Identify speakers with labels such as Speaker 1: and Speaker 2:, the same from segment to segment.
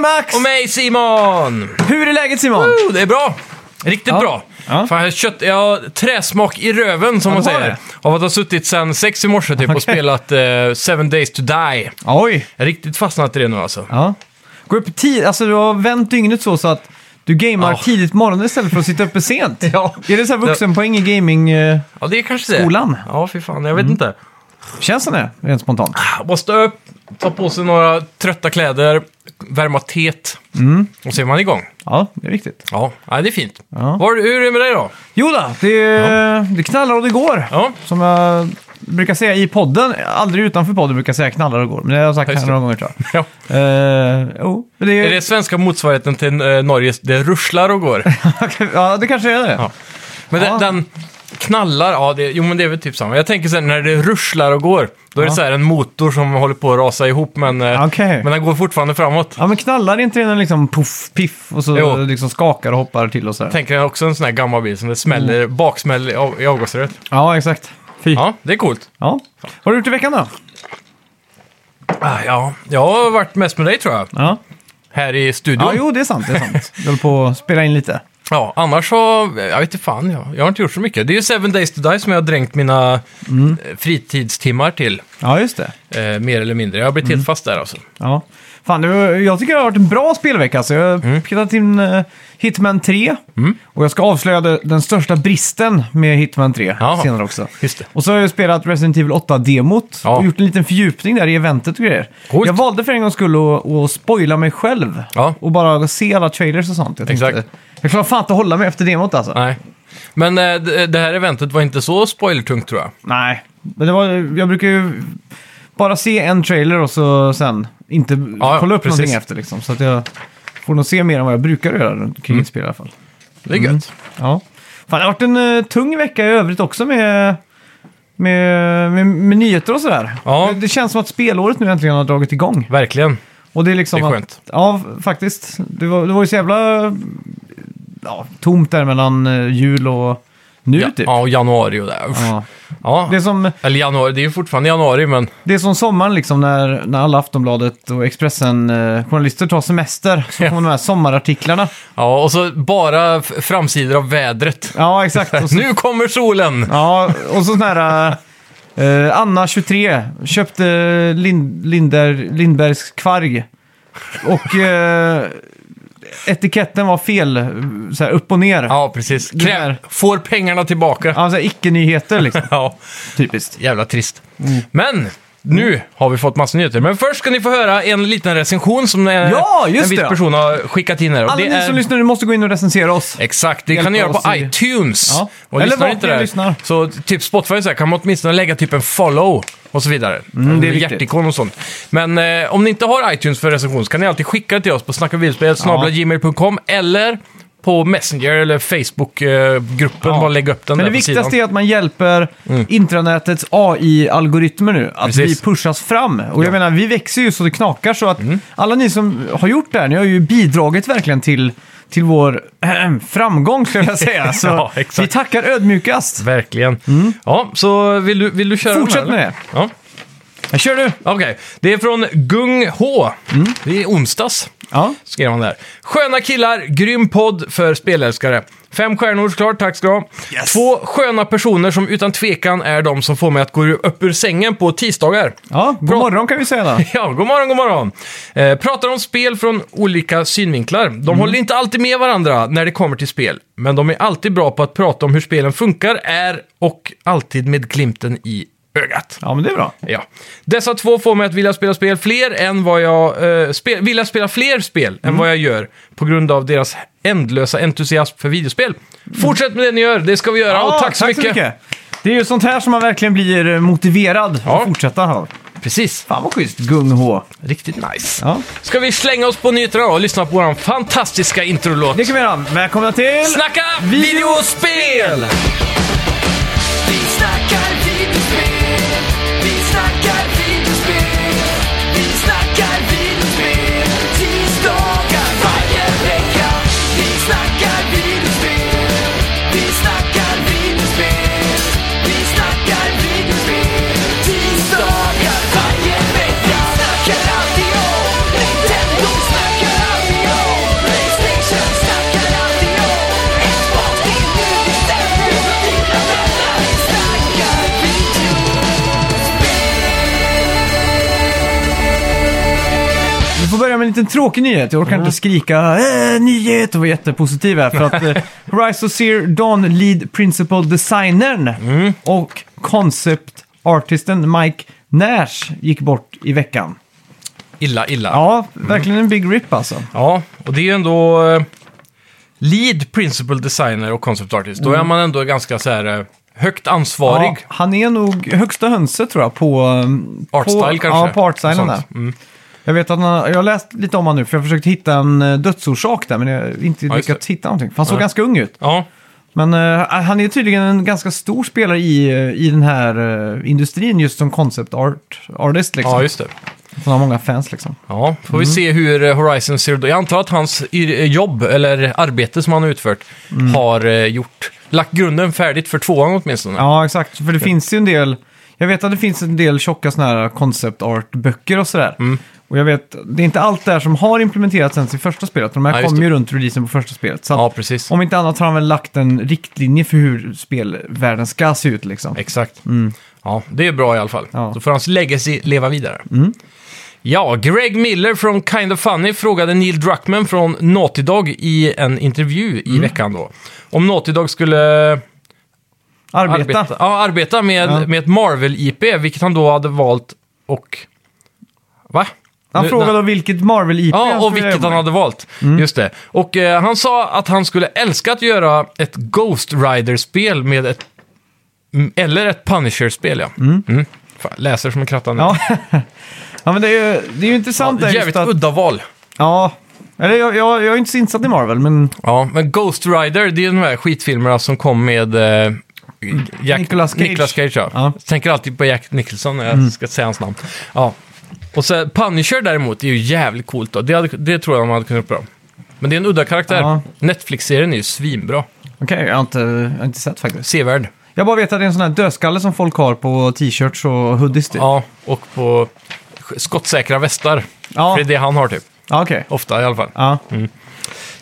Speaker 1: Max!
Speaker 2: Och mig Simon!
Speaker 1: Hur är läget Simon?
Speaker 2: Oh, det är bra! Riktigt
Speaker 1: Ja.
Speaker 2: bra!
Speaker 1: Ja.
Speaker 2: Fan, jag, har kött, jag har träsmak i röven som
Speaker 1: Ja,
Speaker 2: man
Speaker 1: du har
Speaker 2: säger.
Speaker 1: det.
Speaker 2: Av att ha suttit sen sex i morse typ och
Speaker 1: Okej.
Speaker 2: spelat eh, Seven Days to Die. Jag
Speaker 1: Oj!
Speaker 2: har riktigt fastnat i det nu alltså.
Speaker 1: Ja. Gå upp tid, alltså du har vänt dygnet så, så att du gamear
Speaker 2: Ja.
Speaker 1: tidigt på morgonen istället för att sitta uppe sent.
Speaker 2: Ja.
Speaker 1: Är det så här vuxenpoäng i gaming? eh,
Speaker 2: Ja, det är kanske det.
Speaker 1: Skolan. Mm.
Speaker 2: Ja, fy fan. Jag vet inte.
Speaker 1: Känns som det, rent spontant.
Speaker 2: Ah. Måste upp, ta på sig några trötta kläder, värma teet.
Speaker 1: Mm.
Speaker 2: Och så är man igång.
Speaker 1: Ja, det är viktigt.
Speaker 2: Ja, ja det är fint.
Speaker 1: Ja.
Speaker 2: Var, hur är det med dig då?
Speaker 1: Jo då, det, det knallar och det går.
Speaker 2: Ja.
Speaker 1: Som jag brukar säga i podden, aldrig utanför podden brukar jag säga knallar och går. Men det har jag sagt
Speaker 2: Ja, just
Speaker 1: här
Speaker 2: det.
Speaker 1: några gånger tror jag.
Speaker 2: Ja.
Speaker 1: Eh, jo, men det,
Speaker 2: Är det svenska motsvarigheten till eh, Norges Det ruschlar och går?
Speaker 1: ja, det kanske är det.
Speaker 2: Ja. Men
Speaker 1: Ja.
Speaker 2: den, den knallar, ja det, jo men det är väl typ samma. Jag tänker sen när det ruschlar och går, då är det
Speaker 1: Ja.
Speaker 2: så här en motor som håller på att rasa ihop men, eh,
Speaker 1: Okej.
Speaker 2: men den går fortfarande framåt.
Speaker 1: Ja, men knallar inte den liksom puff, piff och så
Speaker 2: Jo.
Speaker 1: liksom skakar och hoppar till och sådär?
Speaker 2: Tänker jag också en sån här gammal bil som det smäller,
Speaker 1: Mm.
Speaker 2: baksmäll i av- i avgasröret.
Speaker 1: Ja, exakt. Fy. Ja.
Speaker 2: Ja, det är coolt.
Speaker 1: Vad har du gjort i veckan då?
Speaker 2: Ah, ja, jag har varit mest med dig tror jag,
Speaker 1: Ja.
Speaker 2: här i studion.
Speaker 1: Ja, jo, det är sant. Det är sant. Jag håller på att spela in lite.
Speaker 2: Ja, annars så, jag vet inte fan, jag, jag har inte gjort så mycket. Det är ju Seven Days to Die som jag har drängt mina
Speaker 1: Mm.
Speaker 2: eh, fritidstimmar till,
Speaker 1: Ja, just det.
Speaker 2: eh, mer eller mindre. Jag har blivit
Speaker 1: Mm.
Speaker 2: helt fast där alltså.
Speaker 1: Ja. Fan, det var, jag tycker det har varit en bra spelvecka. Alltså. Jag har
Speaker 2: Mm.
Speaker 1: petat in eh, Hitman 3. Och jag ska avslöja de- den största bristen med Hitman 3
Speaker 2: Ja.
Speaker 1: senare också.
Speaker 2: Just det.
Speaker 1: Och så har jag spelat Resident Evil 8-demot
Speaker 2: Ja.
Speaker 1: och gjort en liten fördjupning där i eventet och grejer.
Speaker 2: Coolt.
Speaker 1: Jag valde för en gångs skull att, att spoila mig själv
Speaker 2: Ja.
Speaker 1: och bara se alla trailers och sånt. Jag, tänkte,
Speaker 2: Exakt.
Speaker 1: jag klarar fan inte att hålla mig efter demot alltså.
Speaker 2: Nej. Men eh, d- det här eventet var inte så spoilertungt tror jag.
Speaker 1: Nej, men det var, jag brukar ju bara se en trailer och så sen inte
Speaker 2: ja,
Speaker 1: kolla upp
Speaker 2: precis.
Speaker 1: någonting efter liksom. Så att jag får nog se mer än vad jag brukar göra runt
Speaker 2: Mm.
Speaker 1: kring ett spel i alla fall.
Speaker 2: Det är gött.
Speaker 1: Ja. Fan, det har varit en eh, tung vecka i övrigt också med, med, med, med nyheter och sådär.
Speaker 2: Ja.
Speaker 1: Det, det känns som att spelåret nu äntligen har dragit igång.
Speaker 2: Verkligen.
Speaker 1: Och det är liksom
Speaker 2: Det är skönt.
Speaker 1: Att, ja, faktiskt. Det var, det var ju så jävla ja, tomt där mellan eh, jul och nu
Speaker 2: Ja,
Speaker 1: typ.
Speaker 2: ja, och januari och där. Uff. Ja.
Speaker 1: Ja. Det är som...
Speaker 2: Eller januari, det är ju fortfarande januari men
Speaker 1: Det är som sommaren liksom när, när alla Aftonbladet och Expressen-journalister tar semester. Så kommer de här sommarartiklarna.
Speaker 2: ja, och så bara f- framsidor av vädret.
Speaker 1: Ja, exakt. Och så,
Speaker 2: Nu kommer solen!
Speaker 1: ja, och så sån här... eh, Anna, 23, köpte Lind, Linder, Lindbergs kvarg. Och eh, etiketten var fel, så här upp och ner. Ja.
Speaker 2: Ja, precis.
Speaker 1: Det där.
Speaker 2: Krä- får pengarna tillbaka.
Speaker 1: Alltså icke-nyheter liksom,
Speaker 2: Ja,
Speaker 1: typiskt.
Speaker 2: jävla trist.
Speaker 1: Mm.
Speaker 2: Men nu har vi fått massa nyheter. Men först ska ni få höra en liten recension som en-
Speaker 1: Ja, just
Speaker 2: en viss
Speaker 1: det.
Speaker 2: person har skickat in här. Och
Speaker 1: Alla
Speaker 2: det
Speaker 1: ni
Speaker 2: är-
Speaker 1: som lyssnar nu måste gå in och recensera oss.
Speaker 2: Exakt, det
Speaker 1: Hjälpa
Speaker 2: kan ni göra
Speaker 1: oss
Speaker 2: på
Speaker 1: i-
Speaker 2: iTunes.
Speaker 1: Ja.
Speaker 2: Och
Speaker 1: Eller
Speaker 2: lyssnar
Speaker 1: vart
Speaker 2: inte
Speaker 1: ni
Speaker 2: där,
Speaker 1: lyssnar.
Speaker 2: Så typ Spotify så här, kan man åtminstone lägga typ en follow och så vidare.
Speaker 1: Mm, det är
Speaker 2: Med
Speaker 1: viktigt.
Speaker 2: Hjärtikon och sånt. Men eh, om ni inte har iTunes för recension så kan ni alltid skicka det till oss på snackabilspel.gmail.com eller på Messenger eller Facebook-gruppen.
Speaker 1: Ja.
Speaker 2: Bara lägga upp den
Speaker 1: Men
Speaker 2: där
Speaker 1: det
Speaker 2: på
Speaker 1: viktigaste
Speaker 2: sidan. Mm.
Speaker 1: är att man hjälper intranätets AI-algoritmer nu. Att
Speaker 2: Precis. Mm.
Speaker 1: vi pushas fram. Och jag menar, vi växer ju så det knakar. Så att alla ni som har gjort det här, ni har ju bidragit verkligen till, till vår framgång, skulle jag säga. Så
Speaker 2: Ja, exakt.
Speaker 1: vi tackar ödmjukast.
Speaker 2: Verkligen. Ja, så vill du, vill du köra de
Speaker 1: Mm. Fortsätt
Speaker 2: här, eller?
Speaker 1: med
Speaker 2: Ja.
Speaker 1: Kör du! Mm.
Speaker 2: Okej, det är från Gung H. Det är onsdags.
Speaker 1: Ja.
Speaker 2: skrev han där. Sköna killar, grym podd för spelälskare. Fem stjärnor såklart, tack ska du ha.
Speaker 1: Yes.
Speaker 2: Två sköna personer som utan tvekan är de som får mig att gå upp ur sängen på tisdagar.
Speaker 1: ja, god
Speaker 2: Bra.
Speaker 1: morgon kan vi säga då.
Speaker 2: Ja, god morgon, god morgon. Eh, pratar om spel från olika synvinklar. De
Speaker 1: Mm.
Speaker 2: håller inte alltid med varandra när det kommer till spel, men de är alltid bra på att prata om hur spelen funkar, är och alltid med glimten i ögat.
Speaker 1: Ja, men det är bra.
Speaker 2: Ja. Dessa två får mig att vilja spela spel fler än vad jag... Eh, spel, vilja spela fler spel än
Speaker 1: Mm.
Speaker 2: vad jag gör på grund av deras ändlösa entusiasm för videospel.
Speaker 1: Mm.
Speaker 2: Fortsätt med det ni gör, det ska vi göra. och tack, så, mycket.
Speaker 1: Det är ju sånt här som man verkligen blir eh, motiverad
Speaker 2: Ja.
Speaker 1: att fortsätta. här.
Speaker 2: Precis.
Speaker 1: Fan vad schysst, gung-ho.
Speaker 2: Riktigt nice.
Speaker 1: Ja.
Speaker 2: Ska vi slänga oss på nyheterna då och lyssna på vår fantastiska introlåt?
Speaker 1: Det kan vi göra. Välkomna till...
Speaker 2: Snacka videospel!
Speaker 3: Vi snackar videospel, vi snackar videospel, vi snackar videospel, tisdagar varje vecka. Vi snackar videospel, vi snackar videospel, vi snackar videospel, tisdagar varje vecka. Vi snackar alltid om Nintendo, snackar alltid
Speaker 1: liten tråkig nyhet. Jag orkar
Speaker 2: Mm.
Speaker 1: inte skrika äh, nyhet och vara jättepositiv här. För att eh, Rise of Seer Dawn Lead Principal Designern
Speaker 2: Mm.
Speaker 1: och Concept Artisten Mike Nash gick bort i veckan.
Speaker 2: Illa, illa. Ja.
Speaker 1: Ja, verkligen en big rip alltså.
Speaker 2: och det är ju ändå eh, lead principal designer och concept artist. Då är man ändå ganska så här eh, högt ansvarig.
Speaker 1: Mm. Ja, han är nog högsta hönset tror jag på... um,
Speaker 2: Artstyle
Speaker 1: på,
Speaker 2: kanske?
Speaker 1: Ja, på artstylen
Speaker 2: Sånt. Mm.
Speaker 1: där. Jag vet att han, jag har läst lite om honom nu för jag försökte hitta en eh, dödsorsak där men jag har inte
Speaker 2: Ja, just
Speaker 1: lyckats hitta någonting. För han såg ganska ung ut.
Speaker 2: Ja,
Speaker 1: Men eh, han är tydligen en ganska stor spelare i, eh, i den här eh, industrin just som concept art, artist liksom.
Speaker 2: ja just det.
Speaker 1: Han har många fans liksom.
Speaker 2: Ja, får vi se hur eh, Horizon Zero Dawn... Jag antar att hans yr- jobb, eller arbete som han har utfört,
Speaker 1: Mm.
Speaker 2: har eh, gjort... Lagt grunden färdigt för tvåan åtminstone.
Speaker 1: Ja, exakt. För det finns ju en del... Jag vet att det finns en del tjocka sådana här concept art-böcker och sådär.
Speaker 2: Mm.
Speaker 1: Och jag vet, det är inte allt där som har implementerats ens i första spelet. De här
Speaker 2: Ja, just
Speaker 1: kom
Speaker 2: det.
Speaker 1: ju runt releasen på första spelet. Så att,
Speaker 2: Ja, precis.
Speaker 1: om inte annat har han väl lagt en riktlinje för hur spelvärlden ska se ut liksom.
Speaker 2: Exakt. Ja, det är bra i alla fall.
Speaker 1: Ja. Mm.
Speaker 2: Då får hans legacy leva vidare. Ja, Greg Miller från Kind of Funny frågade Neil Druckmann från Naughty Dog i en intervju
Speaker 1: Mm.
Speaker 2: i veckan då. Om Naughty Dog skulle
Speaker 1: Arbeta.
Speaker 2: arbeta, ja, arbeta med,
Speaker 1: Ja.
Speaker 2: med ett Marvel-IP, vilket han då hade valt och... Va?
Speaker 1: Han
Speaker 2: Nu-
Speaker 1: frågade om vilket Marvel-IP
Speaker 2: Ja, och
Speaker 1: skulle Mm.
Speaker 2: vilket
Speaker 1: jobba
Speaker 2: han
Speaker 1: med.
Speaker 2: hade valt. Just det. Och eh, han sa att han skulle älska att göra ett Ghost Rider-spel med ett... mm, Eller ett Punisher-spel, ja. Mm. Fan, läser som en kratta nu.
Speaker 1: Ja. ja, men det är ju, det är ju intressant där
Speaker 2: Jävligt
Speaker 1: just att...
Speaker 2: udda val.
Speaker 1: Ja. Eller jag, jag, jag är inte så insatt i Marvel, men
Speaker 2: Ja, men Ghost Rider, det är de här skitfilmerna som kom med... Eh, Jack,
Speaker 1: Nicolas Cage.
Speaker 2: Nicolas Cage ja.
Speaker 1: Ja. Mm.
Speaker 2: Jag tänker alltid på Jack Nicholson när jag ska säga hans namn. Ja. Och så Punisher däremot är ju jävligt coolt. Då. Det, hade, det tror jag de hade kunnat göra bra. Men det är en udda karaktär.
Speaker 1: Ja.
Speaker 2: Netflix-serien är ju svinbra.
Speaker 1: okej, jag, har inte- jag har inte sett faktiskt.
Speaker 2: Sevärd.
Speaker 1: Jag bara vet att det är en sån här dödskalle som folk har på t-shirts och hoodies typ.
Speaker 2: Ja, och på sk- skottsäkra västar.
Speaker 1: Ja.
Speaker 2: För det är det han har typ.
Speaker 1: Ja, okej.
Speaker 2: Ofta i alla fall.
Speaker 1: Ja.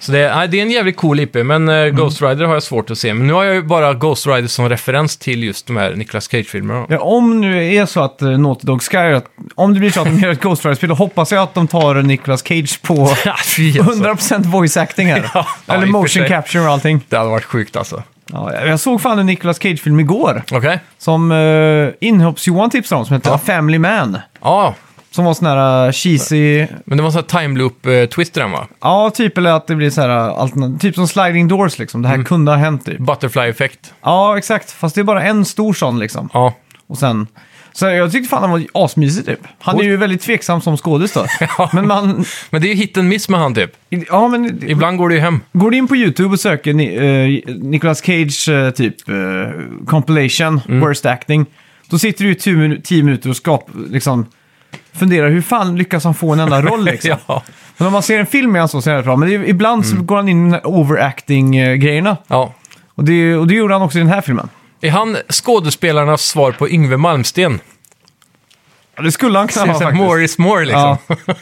Speaker 2: Så det, nej, det är en jävligt cool IP, men
Speaker 1: Mm.
Speaker 2: eh, Ghost Rider har jag svårt att se. Men nu har jag ju bara Ghost Rider som referens till just de här Nicolas Cage-filmerna.
Speaker 1: Ja, om nu är så att uh, Naughty Dog ska göra... Om det blir så att de gör ett Ghost Rider-spel, då hoppas jag att de tar Nicolas Cage på
Speaker 2: Ja, fy alltså.
Speaker 1: 100% voice acting här.
Speaker 2: Ja, ja, i och
Speaker 1: Eller
Speaker 2: för
Speaker 1: motion
Speaker 2: sig.
Speaker 1: capture och allting.
Speaker 2: Det hade varit sjukt alltså.
Speaker 1: Ja, jag- jag såg fan en Nicolas Cage-film igår.
Speaker 2: Okej.
Speaker 1: Som uh, inhopps-Johan tipsade om, som heter
Speaker 2: Ja.
Speaker 1: Family Man.
Speaker 2: Ja,
Speaker 1: Som var sån här eh, cheesy...
Speaker 2: men det var en sån här time loop-twist i den va?
Speaker 1: Ja, typ eller att det blir så här eh, altern- Typ som sliding doors liksom. Det här kunde ha hänt typ.
Speaker 2: Butterfly-effekt.
Speaker 1: Ja, exakt. Fast det är bara en stor sån liksom.
Speaker 2: Ja.
Speaker 1: Och sen... Så jag tyckte fan han var asmysig typ. Han är ju väldigt tveksam som skådis då. Men man...
Speaker 2: Men det är ju hit and miss med han typ.
Speaker 1: Ja, men...
Speaker 2: Ibland går det ju hem.
Speaker 1: Går du in på YouTube och söker ni, eh, Nicolas Cage eh, typ eh, compilation, worst acting. Då sitter du i 10 minu- 10 minuter och skap, liksom, funderar hur fan lyckas han få en enda roll liksom.
Speaker 2: ja.
Speaker 1: Men om man ser en film är han så, så är det bra. Men det är, ibland så går han in i den här äh, overacting-grejerna.
Speaker 2: ja.
Speaker 1: Och det, och det gjorde han också i den här filmen.
Speaker 2: Är han skådespelarnas svar på Yngve Malmsten?
Speaker 1: Ja, det skulle han kunna vara faktiskt.
Speaker 2: more is more liksom.
Speaker 1: Ja.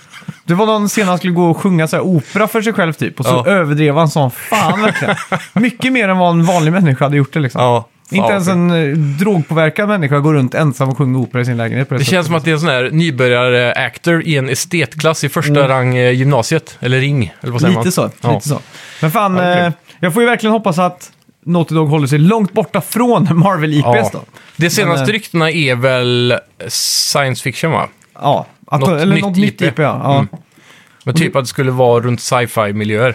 Speaker 1: Det var någon scen han skulle gå och sjunga så här opera för sig själv typ. Och så
Speaker 2: Ja.
Speaker 1: överdrev han som fan verkligen. Mycket mer än vad en vanlig människa hade gjort det liksom.
Speaker 2: Ja.
Speaker 1: Inte
Speaker 2: Fan,
Speaker 1: ens en eh, drogpåverkad människa går runt ensam och sjunger opera i sin lägenhet på det,
Speaker 2: Det
Speaker 1: sättet.
Speaker 2: känns som att det är en sån här nybörjare-actor i en estetklass i första rang eh, gymnasiet. Eller ring, eller vad säger man?
Speaker 1: Mm. Lite så,
Speaker 2: Ja.
Speaker 1: lite så. Men fan,
Speaker 2: det är kul.
Speaker 1: eh, jag får ju verkligen hoppas att Naughty Dog håller sig långt borta från Marvel IPs då.
Speaker 2: Ja. Det senaste
Speaker 1: Men, eh,
Speaker 2: ryktena är väl science fiction va?
Speaker 1: Ja, att,
Speaker 2: Något
Speaker 1: eller
Speaker 2: nytt Mm.
Speaker 1: något nytt
Speaker 2: IP.
Speaker 1: IP. ja. ja.
Speaker 2: Men
Speaker 1: Mm.
Speaker 2: typ att det skulle vara runt sci-fi miljöer.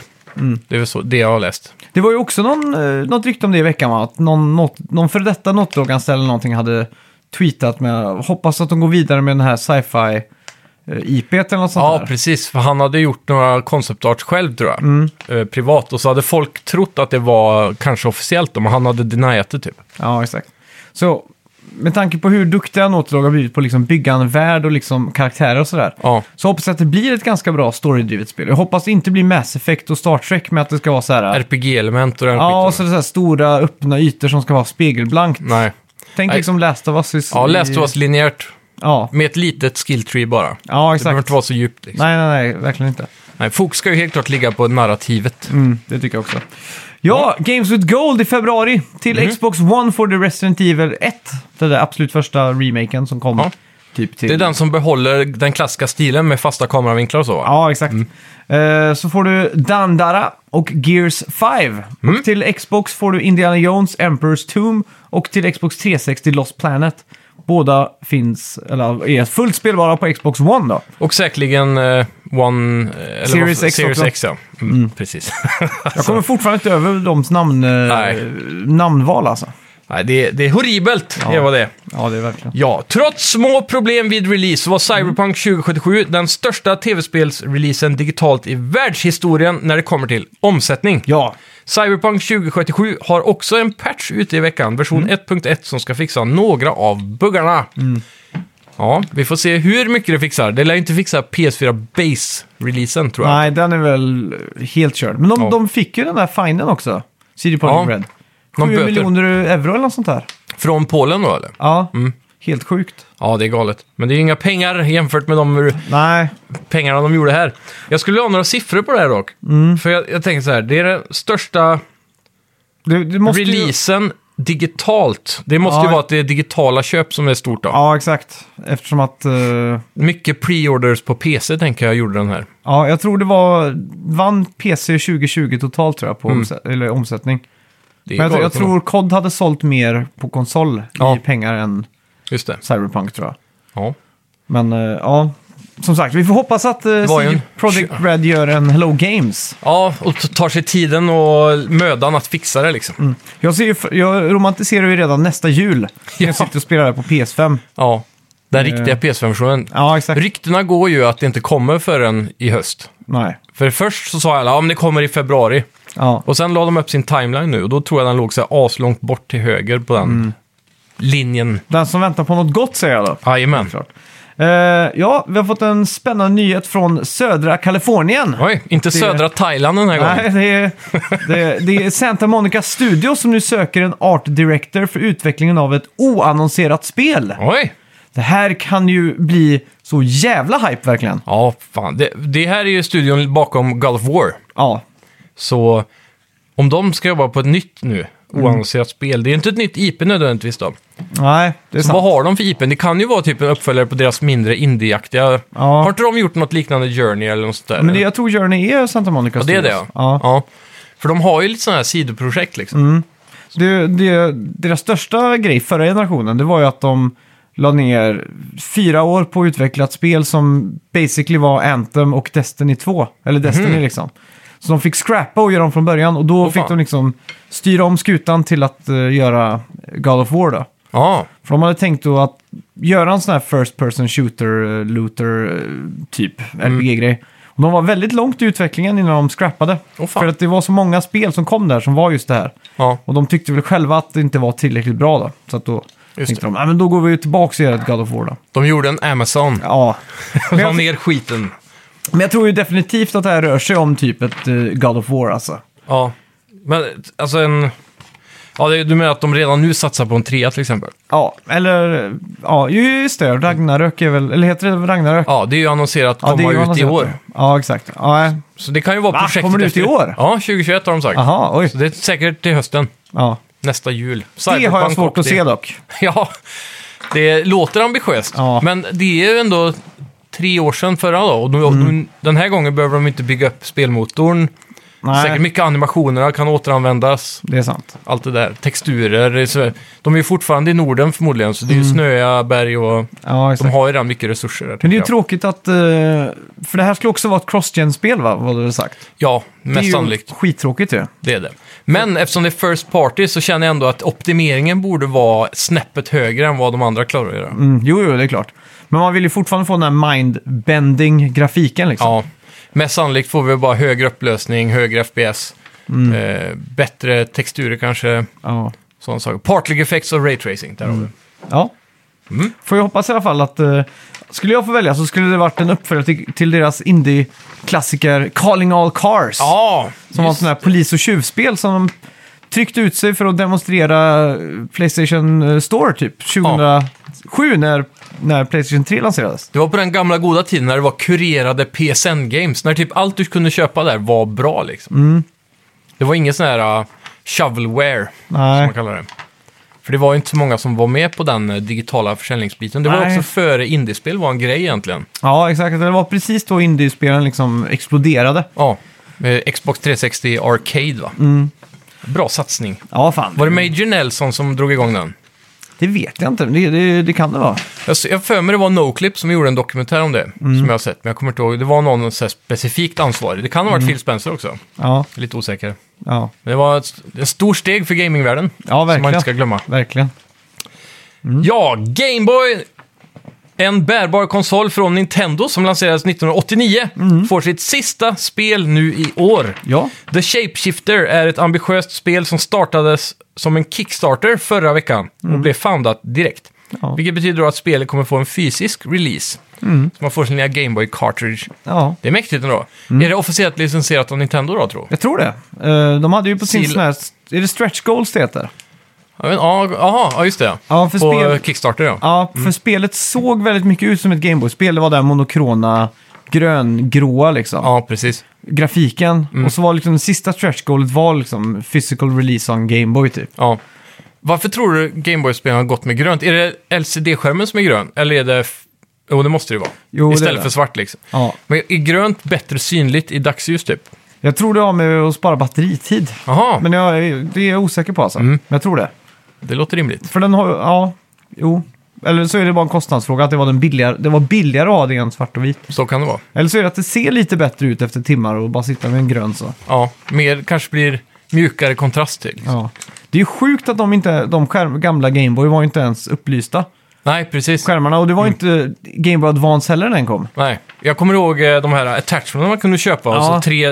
Speaker 2: Det är väl så, det jag har läst.
Speaker 1: Det var ju också någon, eh, något rykte om det i veckan va? Att någon, något, någon före detta Naughty Dog-anställd eller någonting hade tweetat med hoppas att de går vidare med den här sci-fi eh, IP:t eller något sånt
Speaker 2: Ja,
Speaker 1: där.
Speaker 2: precis. För han hade gjort några konceptart själv tror jag.
Speaker 1: Mm.
Speaker 2: Eh, privat. Och så hade folk trott att det var kanske officiellt då, men han hade deniat det typ.
Speaker 1: Ja, exakt. Så med tanke på hur duktiga Naughty Dog har blivit på att liksom bygga en värld och liksom karaktärer och sådär.
Speaker 2: Ja.
Speaker 1: Så hoppas jag att det blir ett ganska bra storydrivet spel. Jag hoppas det inte blir Mass Effect och Star Trek med att det ska vara så här.
Speaker 2: RPG-element och den
Speaker 1: Ja, och så är
Speaker 2: skiten.
Speaker 1: det så här stora öppna ytor som ska vara spegelblankt.
Speaker 2: Nej.
Speaker 1: Tänk
Speaker 2: Nej.
Speaker 1: liksom Last of Us. i-
Speaker 2: Ja, läste oss linjärt.
Speaker 1: Ja,
Speaker 2: Med ett litet skilltree bara.
Speaker 1: ja
Speaker 2: Det behöver
Speaker 1: exakt.
Speaker 2: inte vara så djupt. Liksom.
Speaker 1: Nej, nej, nej, verkligen inte.
Speaker 2: Nej, fokus ska ju helt klart ligga på narrativet.
Speaker 1: Mm, det tycker jag också. Ja, Games with Gold i februari till Xbox One får du Resident Evil 1. Den där absolut första remaken som kom
Speaker 2: Ja.
Speaker 1: Typ till.
Speaker 2: Det är den som behåller den klassiska stilen med fasta kameravinklar och så va?
Speaker 1: Ja, exakt. Eh, Så får du Dandara och Gears 5. Och till Xbox får du Indiana Jones, Emperor's Tomb och till Xbox 360 Lost Planet. Båda finns, eller är fullt spelbara på Xbox One då.
Speaker 2: Och säkerligen eh, One... eh, Eller
Speaker 1: Series
Speaker 2: vad-
Speaker 1: X
Speaker 2: Series
Speaker 1: också.
Speaker 2: X, ja. Mm, Precis.
Speaker 1: Jag kommer fortfarande inte över dems namn, eh,
Speaker 2: Nej.
Speaker 1: namnval alltså.
Speaker 2: Nej, det, är- det är horribelt, det var det
Speaker 1: Ja, det är verkligen.
Speaker 2: Ja, trots små problem vid release var
Speaker 1: Mm.
Speaker 2: Cyberpunk 2077 den största tv-spelsreleasen digitalt i världshistorien när det kommer till omsättning.
Speaker 1: Ja,
Speaker 2: Cyberpunk 2077 har också en patch ute i veckan, version
Speaker 1: Mm.
Speaker 2: 1.1, som ska fixa några av buggarna. Ja, vi får se hur mycket det fixar. Det lär ju inte fixa PS4 Base-releasen, tror jag.
Speaker 1: nej den är väl helt körd. Men de,
Speaker 2: Ja.
Speaker 1: de fick ju den där finen också, CD Projekt
Speaker 2: Ja.
Speaker 1: Red.
Speaker 2: Någon
Speaker 1: 7
Speaker 2: böter.
Speaker 1: miljoner euro eller något sånt där.
Speaker 2: Från Polen då, eller?
Speaker 1: Ja, helt sjukt.
Speaker 2: Ja, det är galet. Men det är ju inga pengar jämfört med de
Speaker 1: Nej,
Speaker 2: pengarna de gjorde här. Jag skulle vilja ha några siffror på det här dock.
Speaker 1: Mm.
Speaker 2: För jag, jag tänker så här, det är den största
Speaker 1: du, du måste ju-
Speaker 2: releasen digitalt. Det måste
Speaker 1: Ja.
Speaker 2: ju vara att det är digitala köp som är stort då.
Speaker 1: Ja, exakt. Eftersom att... eh,
Speaker 2: Mycket pre-orders på PC tänker jag gjorde den här.
Speaker 1: ja, jag tror det var... Vann PC 2020 totalt tror jag på omsä- eller omsättning.
Speaker 2: Mm. Det är
Speaker 1: Men jag, tror- jag
Speaker 2: galet
Speaker 1: tror
Speaker 2: ändå.
Speaker 1: COD hade sålt mer på konsol
Speaker 2: Ja.
Speaker 1: i pengar än
Speaker 2: Just det.
Speaker 1: Cyberpunk tror jag.
Speaker 2: Ja.
Speaker 1: Men eh, ja, som sagt, vi får hoppas att uh,
Speaker 2: var ju en-
Speaker 1: Project Red gör en Hello Games.
Speaker 2: ja, och t- tar sig tiden och mödan att fixa det liksom.
Speaker 1: Jag, ser ju, f- jag romantiserar ju redan nästa jul. när Jag
Speaker 2: Ja.
Speaker 1: sitter och spelar det på PS5.
Speaker 2: Ja, den
Speaker 1: Eh.
Speaker 2: riktiga PS5-versionen.
Speaker 1: Ja, exakt.
Speaker 2: Ryktena går ju att det inte kommer förrän i höst.
Speaker 1: Nej.
Speaker 2: För först så sa alla, ja men det kommer i februari.
Speaker 1: Ja.
Speaker 2: Och sen la de upp sin timeline nu och då tror jag den låg så här aslångt bort till höger på den
Speaker 1: Mm.
Speaker 2: linjen.
Speaker 1: Den som väntar på något gott säger jag då.
Speaker 2: Jajamän.
Speaker 1: Klart. Eh, ja, vi har fått en spännande nyhet från södra Kalifornien.
Speaker 2: Oj, inte södra Thailand den här gången.
Speaker 1: Nej, det är, det, det är Santa Monica Studios som nu söker en art director för utvecklingen av ett oannonserat spel.
Speaker 2: Oj!
Speaker 1: Det här kan ju bli så jävla hype verkligen.
Speaker 2: Ja, fan. Det, det här är ju studion bakom God of War.
Speaker 1: Ja,
Speaker 2: Så om de ska jobba på ett nytt nu, oannonserat spel, det är ju inte ett nytt IP nödvändigtvis då.
Speaker 1: nej, det är
Speaker 2: Så vad
Speaker 1: sant.
Speaker 2: har de för IP? Det kan ju vara typ en uppföljare på deras mindre indieaktiga... Har inte de gjort något liknande Journey eller något sånt där?
Speaker 1: Men det, jag tror Journey är Santa Monica
Speaker 2: ja, det är
Speaker 1: Studios.
Speaker 2: det ja.
Speaker 1: ja. Mm.
Speaker 2: För de har ju lite sådana här sidoprojekt liksom.
Speaker 1: Det, det, deras största grej förra generationen, det var ju att de la ner fyra år på att utveckla ett spel som basically var Anthem och Destiny 2. Eller Destiny liksom. Så de fick scrappa och göra om från början och då
Speaker 2: Mhm. Åh,
Speaker 1: fick
Speaker 2: fan.
Speaker 1: de liksom styra om skutan till att eh, göra God of War då.
Speaker 2: Ja,
Speaker 1: För de hade tänkt då att göra en sån här first person shooter, eh, looter eh, typ,
Speaker 2: Mm.
Speaker 1: RPG-grej. Och de var väldigt långt i utvecklingen innan de scrappade.
Speaker 2: Åh, fan.
Speaker 1: för att det var så många spel som kom där som var just det här.
Speaker 2: ja.
Speaker 1: Och de tyckte väl själva att det inte var tillräckligt bra då. Så att då tänkte de, "Ja, men då går vi ju tillbaka och gör ett God of War då.
Speaker 2: De gjorde en Amazon.
Speaker 1: Ja.
Speaker 2: La
Speaker 1: Men jag,
Speaker 2: ner skiten.
Speaker 1: men jag tror ju definitivt att det här rör sig om typ ett eh, God of War alltså.
Speaker 2: Ja, men alltså en... Ja, det- du menar att de redan nu satsar på en trea till exempel?
Speaker 1: Ja, eller eh, ja, just det. Ragnarök är väl, eller heter det Ragnarök?
Speaker 2: Ja, det är ju annonserat att
Speaker 1: det är
Speaker 2: komma
Speaker 1: ju
Speaker 2: ut i
Speaker 1: annonserat.
Speaker 2: år.
Speaker 1: Ja, exakt. Ja, eh, nej.
Speaker 2: Så det kan ju vara
Speaker 1: Va?
Speaker 2: projektet
Speaker 1: Kommer det ut i
Speaker 2: efter.
Speaker 1: år?
Speaker 2: Ja, 2021 har de sagt.
Speaker 1: Aha, oj.
Speaker 2: Så det är säkert till hösten,
Speaker 1: Ja.
Speaker 2: nästa jul.
Speaker 1: Det har jag
Speaker 2: Cyberpunk
Speaker 1: svårt
Speaker 2: och
Speaker 1: att
Speaker 2: det-
Speaker 1: se dock.
Speaker 2: Ja, det låter ambitiöst.
Speaker 1: Ja.
Speaker 2: Men det är ju ändå tre år sedan förra då. Och de,
Speaker 1: Mm.
Speaker 2: de, den här gången behöver de inte bygga upp spelmotorn.
Speaker 1: Nej.
Speaker 2: Säkert mycket animationerna kan återanvändas.
Speaker 1: Det är sant.
Speaker 2: Allt det där. Texturer. det är så- De är ju fortfarande i Norden förmodligen, så det är ju snöiga berg och...
Speaker 1: Ja,
Speaker 2: De
Speaker 1: exakt.
Speaker 2: har ju redan mycket resurser där.
Speaker 1: Mm. Men det är ju
Speaker 2: tycker
Speaker 1: tråkigt att, eh, för det här skulle också vara ett cross-gen-spel va, vad du har sagt.
Speaker 2: jag. Ja,
Speaker 1: Det är ju
Speaker 2: mest sannolikt.
Speaker 1: skittråkigt ju.
Speaker 2: Det är det. Men eftersom det är first party så känner jag ändå att optimeringen borde vara snäppet högre än vad de andra klarar att göra.
Speaker 1: Mm, jo, jo, det är klart. Men man vill ju fortfarande få den här mind-bending-grafiken liksom.
Speaker 2: Ja, mest sannolikt får vi bara högre upplösning, högre FPS,
Speaker 1: Mm.
Speaker 2: eh, bättre texturer kanske,
Speaker 1: Ja.
Speaker 2: sådana saker. Partlig effects och ray tracing, där har
Speaker 1: Mm.
Speaker 2: vi.
Speaker 1: ja. Får jag hoppas i alla fall att... eh, skulle jag få välja så skulle det varit en uppföljare till, till deras indie-klassiker Calling All Cars.
Speaker 2: Ja,
Speaker 1: som var ett sånt här polis och tjuvspel som de tryckte ut sig för att demonstrera eh, Playstation eh, Store typ 2007 när, när Playstation 3 lanserades.
Speaker 2: det var på den gamla goda tiden när det var kurerade PSN-games, när typ allt du kunde köpa där var bra
Speaker 1: Mm.
Speaker 2: liksom. Det var ingen sån här uh, ah, shovelware, som
Speaker 1: Nej.
Speaker 2: man kallar det. För det var ju inte så många som var med på den eh, digitala försäljningsbiten. Det var
Speaker 1: Nej.
Speaker 2: också före indiespel var en grej egentligen.
Speaker 1: Ja, exakt. Det var precis då indiespelen liksom exploderade.
Speaker 2: Ja, eh, Xbox 360 Arcade va?
Speaker 1: Mm.
Speaker 2: Bra satsning.
Speaker 1: Ja, fan.
Speaker 2: Var det Major Nelson som drog igång den?
Speaker 1: Det vet jag inte. Det, det, det kan det vara.
Speaker 2: Jag s- jag för mig det var Noclip som gjorde en dokumentär om det,
Speaker 1: Mm.
Speaker 2: som jag har sett. Men jag kommer inte ihåg, det var någon så här specifikt ansvarig. Det kan
Speaker 1: Mm.
Speaker 2: ha varit Phil Spencer också, jag
Speaker 1: Ja,
Speaker 2: är lite osäker.
Speaker 1: ja.
Speaker 2: Men det var ett, st- ett stort steg för gamingvärlden,
Speaker 1: ja
Speaker 2: som man inte
Speaker 1: verkligen. Mm.
Speaker 2: ska glömma.
Speaker 1: verkligen.
Speaker 2: Ja, Gameboy! En bärbar konsol från Nintendo som lanserades 1989 får sitt sista spel nu i år.
Speaker 1: Mm. Ja.
Speaker 2: The Shapeshifter är ett ambitiöst spel som startades som en Kickstarter förra veckan och blev foundat direkt.
Speaker 1: Mm. Ja. Mm.
Speaker 2: Vilket betyder då att spelet kommer få en fysisk release. Så man får sin lilla Gameboy Cartridge.
Speaker 1: ja,
Speaker 2: Det är mäktigt ändå.
Speaker 1: Mm.
Speaker 2: Är det officiellt licensierat av Nintendo då, tror jag?
Speaker 1: jag tror det. Eh, De hade ju på sin
Speaker 2: Sil-
Speaker 1: sån här... Är det stretch goals det heter?
Speaker 2: Ja, men- ja, Jaha, ja, just det.
Speaker 1: Ja, för
Speaker 2: På
Speaker 1: spel-
Speaker 2: eh, Kickstarter, ja.
Speaker 1: Ja, för spelet såg väldigt mycket ut som ett Gameboy-spel. Det var där monokrona gröngråa liksom.
Speaker 2: Ja, Mm. precis.
Speaker 1: Grafiken. Och så var liksom det sista stretch goalet var liksom physical release on Gameboy typ.
Speaker 2: Ja. Varför tror du Gameboy-spelen har gått med grönt? Är det LCD-skärmen som är grön? Eller är det... f- Jo, det måste det vara.
Speaker 1: Jo, det är
Speaker 2: Istället
Speaker 1: det.
Speaker 2: för svart liksom.
Speaker 1: Ja.
Speaker 2: Men är grönt bättre synligt i dagsljus typ?
Speaker 1: Jag tror det har med att spara batteritid.
Speaker 2: Jaha,
Speaker 1: Men jag, är- det är jag osäker på alltså.
Speaker 2: Mm.
Speaker 1: Men jag tror det.
Speaker 2: det låter rimligt.
Speaker 1: För den har ja, jo. Eller så är det bara en kostnadsfråga, att det var, den billigare, det var billigare att ha det än svart och vit.
Speaker 2: Så kan det vara.
Speaker 1: Eller så är det att det ser lite bättre ut efter timmar och bara sitta med en grön så.
Speaker 2: Ja, mer kanske blir mjukare kontrast till.
Speaker 1: Ja. Det är ju sjukt att de, inte, de skärm, gamla Gameboy var ju inte ens upplysta.
Speaker 2: Nej, precis.
Speaker 1: Skärmarna, och det var ju
Speaker 2: Mm.
Speaker 1: inte Gameboy Advance heller när den kom.
Speaker 2: Nej. Jag kommer ihåg eh, de här attachments man kunde köpa och
Speaker 1: Ja.
Speaker 2: så tre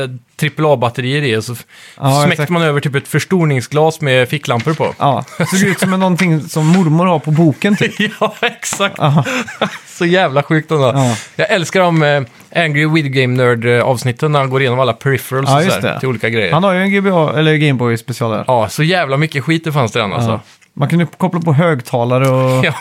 Speaker 2: AAA-batterier i och så f-
Speaker 1: Ja, exakt.
Speaker 2: smäckte man över typ ett förstoringsglas med ficklampor på.
Speaker 1: Ja, det såg ut som en- någonting som mormor har på boken typ.
Speaker 2: Ja, exakt.
Speaker 1: Ja.
Speaker 2: Så jävla sjukt ändå.
Speaker 1: Ja.
Speaker 2: Jag älskar de eh, Angry Video Game Nerd-avsnitten när han går igenom alla peripherals
Speaker 1: Ja,
Speaker 2: och
Speaker 1: just
Speaker 2: så här,
Speaker 1: det.
Speaker 2: till olika grejer.
Speaker 1: Han har ju en GBA, eller Gameboy special där.
Speaker 2: Ja, så jävla mycket skit det fanns det än alltså.
Speaker 1: Ja. Man kunde koppla på högtalare och...
Speaker 2: Ja.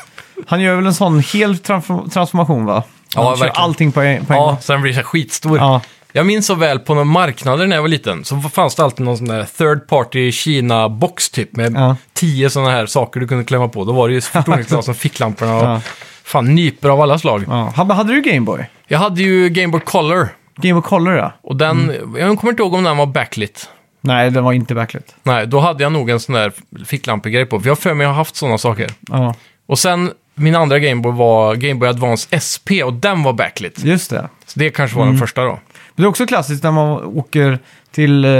Speaker 1: Han gör väl en sån hel transform- transformation va?
Speaker 2: Ja,
Speaker 1: Han kör
Speaker 2: verkligen.
Speaker 1: allting på en, på en
Speaker 2: Ja,
Speaker 1: gång.
Speaker 2: sen blir det så här skitstor.
Speaker 1: Ja.
Speaker 2: Jag minns så väl på några marknader när jag var liten så fanns det alltid någon sån där third party Kina-box typ med
Speaker 1: Ja.
Speaker 2: tio sådana här saker du kunde klämma på. Då var det ju förstoringsglas och ficklamporna och
Speaker 1: Ja.
Speaker 2: fan nyper av alla slag.
Speaker 1: Ja. Hade hade du Gameboy?
Speaker 2: Jag hade ju Game Boy Color
Speaker 1: Gameboy Color ja.
Speaker 2: och den,
Speaker 1: Mm.
Speaker 2: jag kommer inte ihåg om den var backlit.
Speaker 1: Nej, den var inte backlit.
Speaker 2: Nej, då hade jag nog en sån där ficklampegrej på. För jag har för mig att jag har haft sådana saker.
Speaker 1: Ja,
Speaker 2: Och sen, min andra Gameboy var Gameboy Advance SP och den var backlit.
Speaker 1: just det.
Speaker 2: Så det kanske var
Speaker 1: Mm.
Speaker 2: den första då.
Speaker 1: Det är också klassiskt när man åker till eh,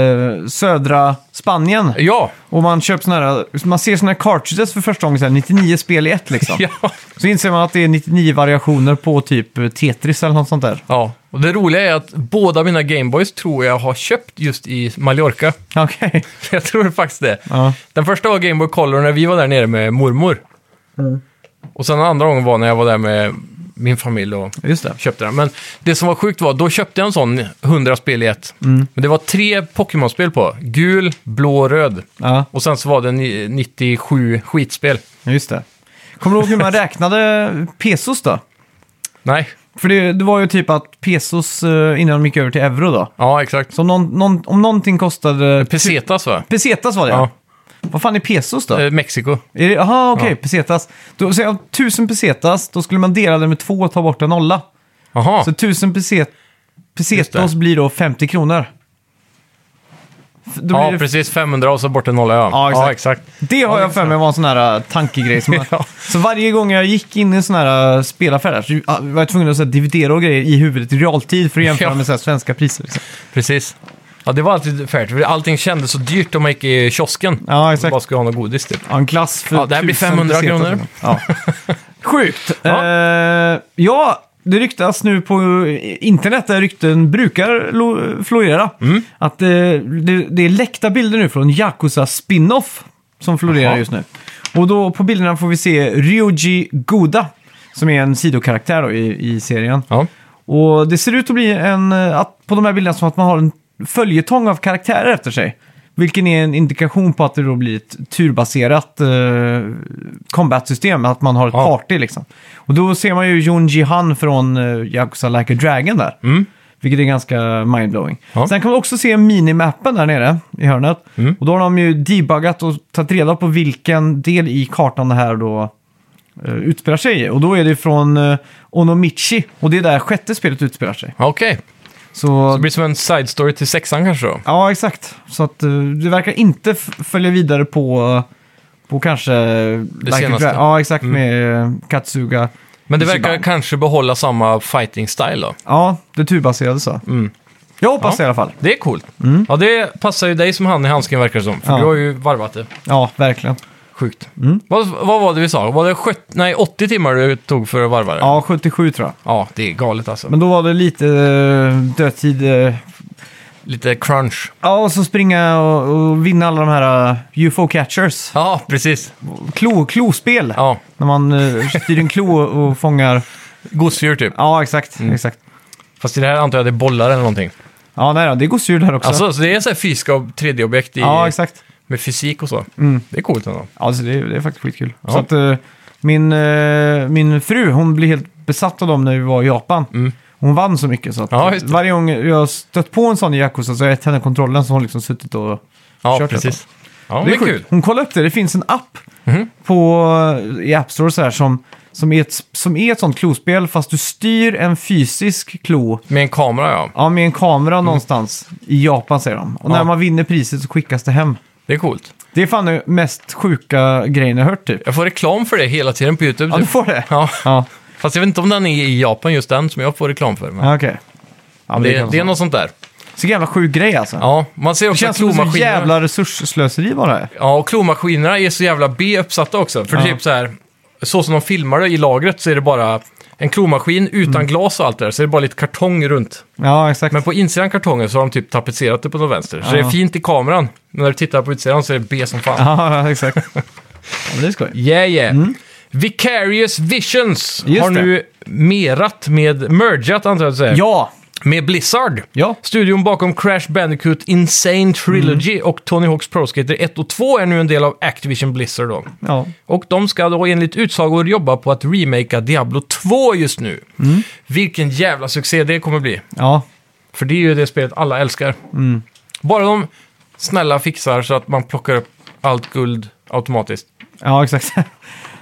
Speaker 1: södra Spanien
Speaker 2: Ja,
Speaker 1: och man köper såna här, man ser såna här cartridges för första gången, så här 99 spel i ett liksom.
Speaker 2: ja.
Speaker 1: Så inser man att det är 99 variationer på typ eh, Tetris eller något sånt där.
Speaker 2: Ja, och det roliga är att båda mina Gameboys tror jag har köpt just i Mallorca.
Speaker 1: Okej.
Speaker 2: Jag tror faktiskt det.
Speaker 1: Ja.
Speaker 2: Den första var Gameboy Color när vi var där nere med mormor.
Speaker 1: Mm.
Speaker 2: Och sen den andra gången var när jag var där med min familj och
Speaker 1: Just det.
Speaker 2: köpte den. Men det som var sjukt var, då köpte jag en sån 100 spel i ett.
Speaker 1: Mm.
Speaker 2: Men det var tre Pokémon-spel på. Gul, blå, röd.
Speaker 1: Ja,
Speaker 2: Och sen så var det ni- 97 skitspel.
Speaker 1: just det. Kommer du ihåg hur man räknade pesos då?
Speaker 2: Nej,
Speaker 1: För det, det var ju typ att pesos eh, innan de gick över till euro då.
Speaker 2: ja exakt.
Speaker 1: Så om, någon, någon, om någonting kostade...
Speaker 2: Pesetas va?
Speaker 1: Pesetas var det ja.
Speaker 2: Ja.
Speaker 1: Vad fan är pesos då?
Speaker 2: Eh, Mexiko.
Speaker 1: Är det- Jaha, okej, pesetas. Då, så, om 1000 pesetas, då skulle man dela det med två och ta bort en nolla.
Speaker 2: Jaha.
Speaker 1: Så 1000 peset, pesetos
Speaker 2: Just
Speaker 1: blir då 50 kronor. F- Då
Speaker 2: Ja,
Speaker 1: blir det,
Speaker 2: precis. 500 och så bort en nolla, ja.
Speaker 1: Ja, exakt. det har
Speaker 2: Ja,
Speaker 1: jag för mig var en sån här äh, tankegrej. Som
Speaker 2: Ja.
Speaker 1: Så varje gång jag gick in i en sån här äh, spelaffär där, så ju- ah, var jag tvungen att så här, dividera och grejer i huvudet i realtid för att jämföra
Speaker 2: Ja.
Speaker 1: med så här, svenska priser. Liksom.
Speaker 2: Precis. Ja, det var alltid färt, för allting kändes så dyrt om man gick i kiosken.
Speaker 1: Ja,
Speaker 2: Och
Speaker 1: exakt.
Speaker 2: Bara skulle ha något godis, typ.
Speaker 1: Ja, en klass för
Speaker 2: Ja, det här blir
Speaker 1: 1000
Speaker 2: 500
Speaker 1: pesetas.
Speaker 2: kronor.
Speaker 1: Ja. Sjukt. Ja. ja, det ryktas nu på internet, där rykten brukar lo- florera,
Speaker 2: Mm.
Speaker 1: att eh, det, det är läckta bilder nu från Yakuza Spin-Off som florerar
Speaker 2: Jaha.
Speaker 1: just nu. Och då på bilderna får vi se Ryoji Goda, som är en sidokaraktär då i, i serien.
Speaker 2: Ja.
Speaker 1: Och det ser ut att bli en, eh, att, på de här bilderna som att man har en följetong av karaktärer efter sig. Vilken är en indikation på att det då blir ett turbaserat eh, combat-system, att man har ett
Speaker 2: Ja.
Speaker 1: party liksom. Och då ser man ju Junji Han från eh, Yakuza Like a Dragon där. Vilket är ganska mindblowing.
Speaker 2: Mm. Ja. Mm.
Speaker 1: Sen kan man också se minimappen där nere i hörnet. Och då har de ju debuggat och tagit reda på vilken del i kartan det här då eh, utspelar sig i. Och då är det från eh, Onomichi och det är där sjätte spelet utspelar sig.
Speaker 2: Okej,
Speaker 1: Så,
Speaker 2: det blir som en side story till sexan kanske då.
Speaker 1: ja, exakt. Så att eh, det verkar inte f- följa vidare på, eh, på kanske... Det
Speaker 2: senaste. Mm.
Speaker 1: Ja, exakt med eh, Katsuga.
Speaker 2: Men det
Speaker 1: Ichiban.
Speaker 2: verkar kanske behålla samma fighting style då.
Speaker 1: Ja, det turbaserade så. Jag hoppas
Speaker 2: Mm. Ja.
Speaker 1: det i alla fall.
Speaker 2: Det är coolt. Ja, det passar ju dig som han i handsken verkar det som. För
Speaker 1: Mm. Ja. Mm.
Speaker 2: du har ju varvat det.
Speaker 1: Ja, verkligen.
Speaker 2: Sjukt. Vad, vad var det vi sa? Var det sjut- nej, 80 timmar du tog för att varva det?
Speaker 1: Ja, 77 tror jag.
Speaker 2: Ja, det är galet alltså.
Speaker 1: Men då var det lite eh, dödtid. eh,
Speaker 2: Lite crunch.
Speaker 1: Ja, och så springa och, och vinna alla de här eh, UFO catchers.
Speaker 2: Ja, precis.
Speaker 1: Klo, klospel.
Speaker 2: Ja,
Speaker 1: När man eh, styr en klo och fångar...
Speaker 2: gosedjur typ.
Speaker 1: Ja, exakt. exakt.
Speaker 2: Fast i det här antar jag det är bollar eller någonting.
Speaker 1: Ja, nej då, det går sur där också.
Speaker 2: Alltså, så det är så här fysiska och 3D-objekt i,
Speaker 1: ja, exakt. Mm.
Speaker 2: med fysik och så. Det är coolt ändå.
Speaker 1: Alltså, det, är- det är faktiskt skitkul. Så att, eh, min, eh, min fru, hon blev helt besatt av dem när vi var i Japan. Hon vann så mycket så att
Speaker 2: Mm. Ja, just det.
Speaker 1: varje gång jag stött på en sån i Yakuza så har jag gett henne kontrollen så hon liksom suttit och
Speaker 2: Ja,
Speaker 1: kört
Speaker 2: precis. Ja,
Speaker 1: Det är kul. Hon kollade upp det. Det finns en app
Speaker 2: Mhm.
Speaker 1: på, eh, i App Store så här, som, som, är ett, som är ett sånt klospel fast du styr en fysisk klo
Speaker 2: Med en kamera ja.
Speaker 1: ja, med en kamera någonstans i Japan säger de. Och
Speaker 2: Mhm. Ja.
Speaker 1: när man vinner priset så skickas det hem.
Speaker 2: Det är coolt.
Speaker 1: Det är fan den mest sjuka grejen jag hört typ.
Speaker 2: Jag får reklam för det hela tiden på YouTube.
Speaker 1: Ja, du
Speaker 2: Typ.
Speaker 1: får det?
Speaker 2: Ja.
Speaker 1: Ja,
Speaker 2: Fast jag vet inte om den är i Japan just den som jag får reklam för. Men
Speaker 1: ja okej. Ja, men
Speaker 2: det,
Speaker 1: kan vara
Speaker 2: det, är
Speaker 1: så.
Speaker 2: något sånt där.
Speaker 1: Så jävla sjuk grej alltså.
Speaker 2: Ja, man ser
Speaker 1: det
Speaker 2: också
Speaker 1: känns som ett så
Speaker 2: klomaskiner.
Speaker 1: jävla resursslöseri bara. det är.
Speaker 2: Ja, och klomaskinerna är så jävla B uppsatta också. För
Speaker 1: Ja.
Speaker 2: typ så här, så som de filmar det i lagret så är det bara en klomaskin utan
Speaker 1: Mm.
Speaker 2: glas och allt det där. Så är det bara lite kartong runt.
Speaker 1: Ja, exakt.
Speaker 2: Men på insidan kartongen så har de typ tapetserat det på något vänster. Så
Speaker 1: Ja.
Speaker 2: det är fint i kameran. Men när du tittar på utsidan så är det B som fan.
Speaker 1: Ja, exakt. ja, men det är skoj.
Speaker 2: Yeah, yeah. Vicarious Visions
Speaker 1: Mm. Just
Speaker 2: har
Speaker 1: det.
Speaker 2: nu merat med, mergat antar jag att säga,
Speaker 1: Ja!
Speaker 2: med Blizzard.
Speaker 1: Ja.
Speaker 2: Studion bakom Crash Bandicoot Insane Trilogy
Speaker 1: Mm.
Speaker 2: och Tony Hawks Pro Skater 1 och 2 är nu en del av Activision Blizzard då.
Speaker 1: Ja.
Speaker 2: Och de ska då enligt utsagor jobba på att remakea Diablo 2 just nu.
Speaker 1: Mm.
Speaker 2: Vilken jävla succé det kommer bli.
Speaker 1: Ja.
Speaker 2: För det är ju det spelet alla älskar. Bara de snälla fixar så att man plockar upp allt guld automatiskt.
Speaker 1: Ja, exakt.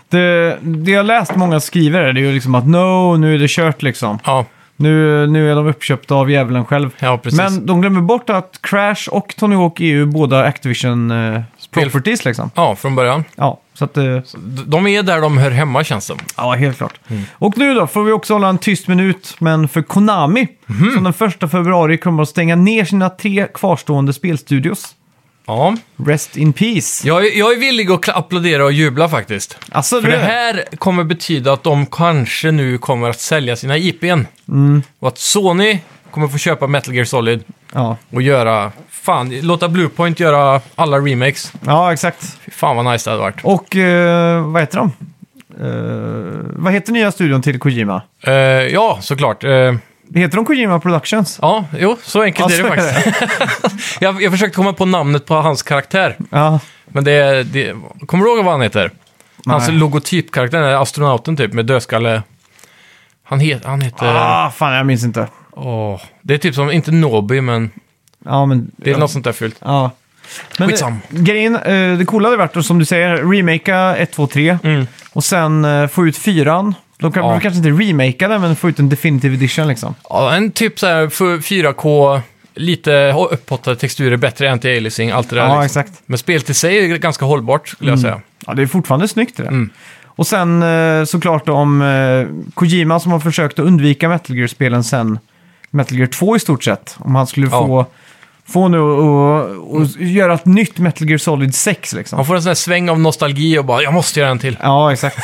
Speaker 1: Det, det jag läst många skriver det är ju liksom att no, nu är det kört liksom.
Speaker 2: Ja,
Speaker 1: Nu, nu är de uppköpta av djävulen själv.
Speaker 2: ja precis.
Speaker 1: Men de glömmer bort att Crash och Tony Hawk är ju båda Activision eh, properties liksom.
Speaker 2: Ja, från början.
Speaker 1: Ja, så att... Eh,
Speaker 2: D- De är där de hör hemma känns det
Speaker 1: ja, helt klart.
Speaker 2: Mm.
Speaker 1: Och nu då får vi också hålla en tyst minut, men för Konami.
Speaker 2: Mhm.
Speaker 1: Som den första februari kommer att stänga ner sina tre kvarstående spelstudios.
Speaker 2: Ja,
Speaker 1: Rest in peace.
Speaker 2: jag, är- jag är villig att kla- applådera och jubla faktiskt.
Speaker 1: Alltså,
Speaker 2: För
Speaker 1: du-
Speaker 2: det här kommer betyda att de kanske nu kommer att sälja sina IPn. Och att Sony kommer få köpa Metal Gear Solid
Speaker 1: Ja,
Speaker 2: och göra... Fan, låta Bluepoint göra alla remakes.
Speaker 1: ja exakt.
Speaker 2: Fy Fan vad nice det hade varit.
Speaker 1: Och eh, vad heter de? Eh, vad heter nya studion till Kojima?
Speaker 2: Eh, ja, såklart. Eh,
Speaker 1: Heter de Kojima Productions?
Speaker 2: ja, jo, så enkelt
Speaker 1: Ja,
Speaker 2: är det
Speaker 1: så är
Speaker 2: faktiskt. jag, jag försökte komma på namnet på hans karaktär.
Speaker 1: Ja,
Speaker 2: Men det, det... Kommer du ihåg vad han heter? Hans
Speaker 1: Nej.
Speaker 2: logotypkaraktär, den där astronauten typ med dödskalle. Han, het, han heter...
Speaker 1: ah, fan jag minns inte.
Speaker 2: Åh, det är typ som, inte Nobi, men
Speaker 1: Ja, men...
Speaker 2: det är något sånt där fult.
Speaker 1: Ja. Men
Speaker 2: Skitsam.
Speaker 1: eh, grejen, eh, det coola hade varit att, som du säger, remakea 1, 2, 3 och sen eh, få ut 4 de kan
Speaker 2: Ja.
Speaker 1: de kanske inte remakea den, men få ut en definitive edition liksom.
Speaker 2: Ja, en typ så här för 4K, lite upphottade texturer, bättre anti-aliasing, allt det där.
Speaker 1: Ja,
Speaker 2: liksom.
Speaker 1: exakt. Mm.
Speaker 2: Men spelet i sig är ganska hållbart, skulle jag säga.
Speaker 1: Ja, det är fortfarande snyggt det där.
Speaker 2: Mm.
Speaker 1: Och sen eh, såklart då om eh, Kojima som har försökt att undvika Metal Gear-spelen sen Metal Gear 2 i stort sett. Om han skulle
Speaker 2: Ja.
Speaker 1: få, få nu och, och göra ett nytt Metal Gear Solid 6 liksom.
Speaker 2: Man får en sån här sväng av nostalgi och bara, jag måste göra en till.
Speaker 1: Ja, exakt.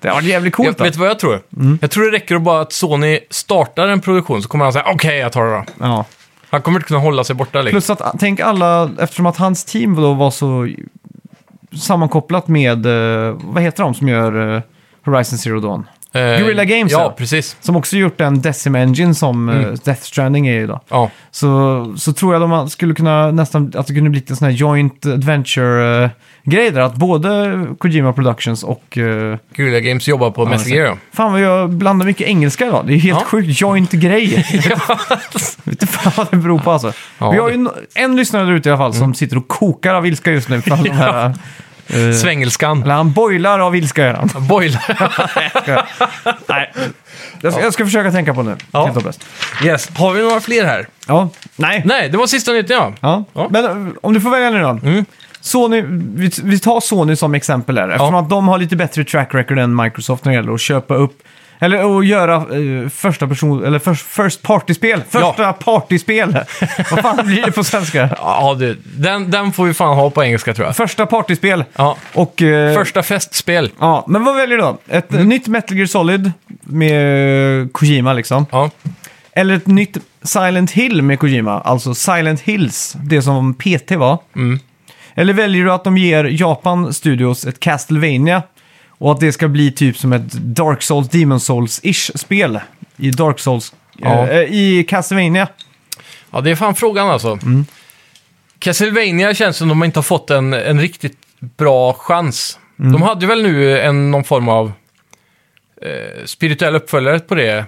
Speaker 1: det har varit jävligt
Speaker 2: Alltså. Jag,
Speaker 1: coolt. då. Mm.
Speaker 2: vet du vad jag tror? Jag tror det räcker att bara att Sony startar en produktion så kommer han säga okej, jag tar det då.
Speaker 1: Ja.
Speaker 2: Han kommer inte kunna hålla sig borta liksom.
Speaker 1: Plus att, tänk alla, eftersom att hans team då var så sammankopplat med, eh, vad heter de som gör eh, Horizon Zero Dawn?
Speaker 2: Eh,
Speaker 1: Guerrilla Games,
Speaker 2: Ja,
Speaker 1: ja.
Speaker 2: precis.
Speaker 1: Som också gjort den Decim Engine som eh, Death Stranding är idag.
Speaker 2: Ja.
Speaker 1: Så, så tror jag de skulle kunna nästan, att det kunde bli lite sån här joint adventure-grej där. Att både Kojima Productions och... eh,
Speaker 2: Guerrilla Games jobbar på Metal Gear, ja.
Speaker 1: Fan vad jag blandar mycket engelska idag. Det är helt
Speaker 2: Ja.
Speaker 1: sjukt. Joint-grej. Jag vet inte fan vad det beror på alltså.
Speaker 2: Ja, Mm.
Speaker 1: Vi har ju no- en lyssnare där ute i alla fall som sitter och kokar av ilska just nu. För alla de här, eh,
Speaker 2: Svängelskan.
Speaker 1: eller han boilar av ilska gör han.
Speaker 2: Boiler.
Speaker 1: Nej. Jag, ska, jag ska försöka tänka på det nu.
Speaker 2: Ja.
Speaker 1: Helt hopplöst.
Speaker 2: Yes. Har vi några fler här?
Speaker 1: Ja. Nej.
Speaker 2: Nej, det var sista nyheten ja.
Speaker 1: Ja.
Speaker 2: Ja. Mm.
Speaker 1: Men eh, om du får välja nu då. Sony, vi, vi tar Sony som exempel här. Eftersom
Speaker 2: Ja.
Speaker 1: att de har lite bättre track record än Microsoft när det gäller att köpa upp eller att göra eh, första person, eller first, first party-spel. Första partyspel! Vad fan blir det på svenska?
Speaker 2: Ja, du. Den, den får vi fan ha på engelska tror jag.
Speaker 1: Första partyspel.
Speaker 2: Ja.
Speaker 1: Och... eh,
Speaker 2: Första festspel.
Speaker 1: Ja, men vad väljer du då? Ett
Speaker 2: Mm.
Speaker 1: nytt Metal Gear Solid med eh, Kojima liksom.
Speaker 2: Ja.
Speaker 1: Eller ett nytt Silent Hill med Kojima, alltså Silent Hills, det som PT var.
Speaker 2: Mm.
Speaker 1: Eller väljer du att de ger Japan Studios ett Castlevania och att det ska bli typ som ett Dark Souls, Demon Souls-ish spel i Dark Souls,
Speaker 2: Ja.
Speaker 1: eh, i Castlevania.
Speaker 2: ja, det är fan frågan alltså. Castlevania känns som de inte har fått en, en riktigt bra chans. De hade väl nu en, någon form av eh, spirituell uppföljare på det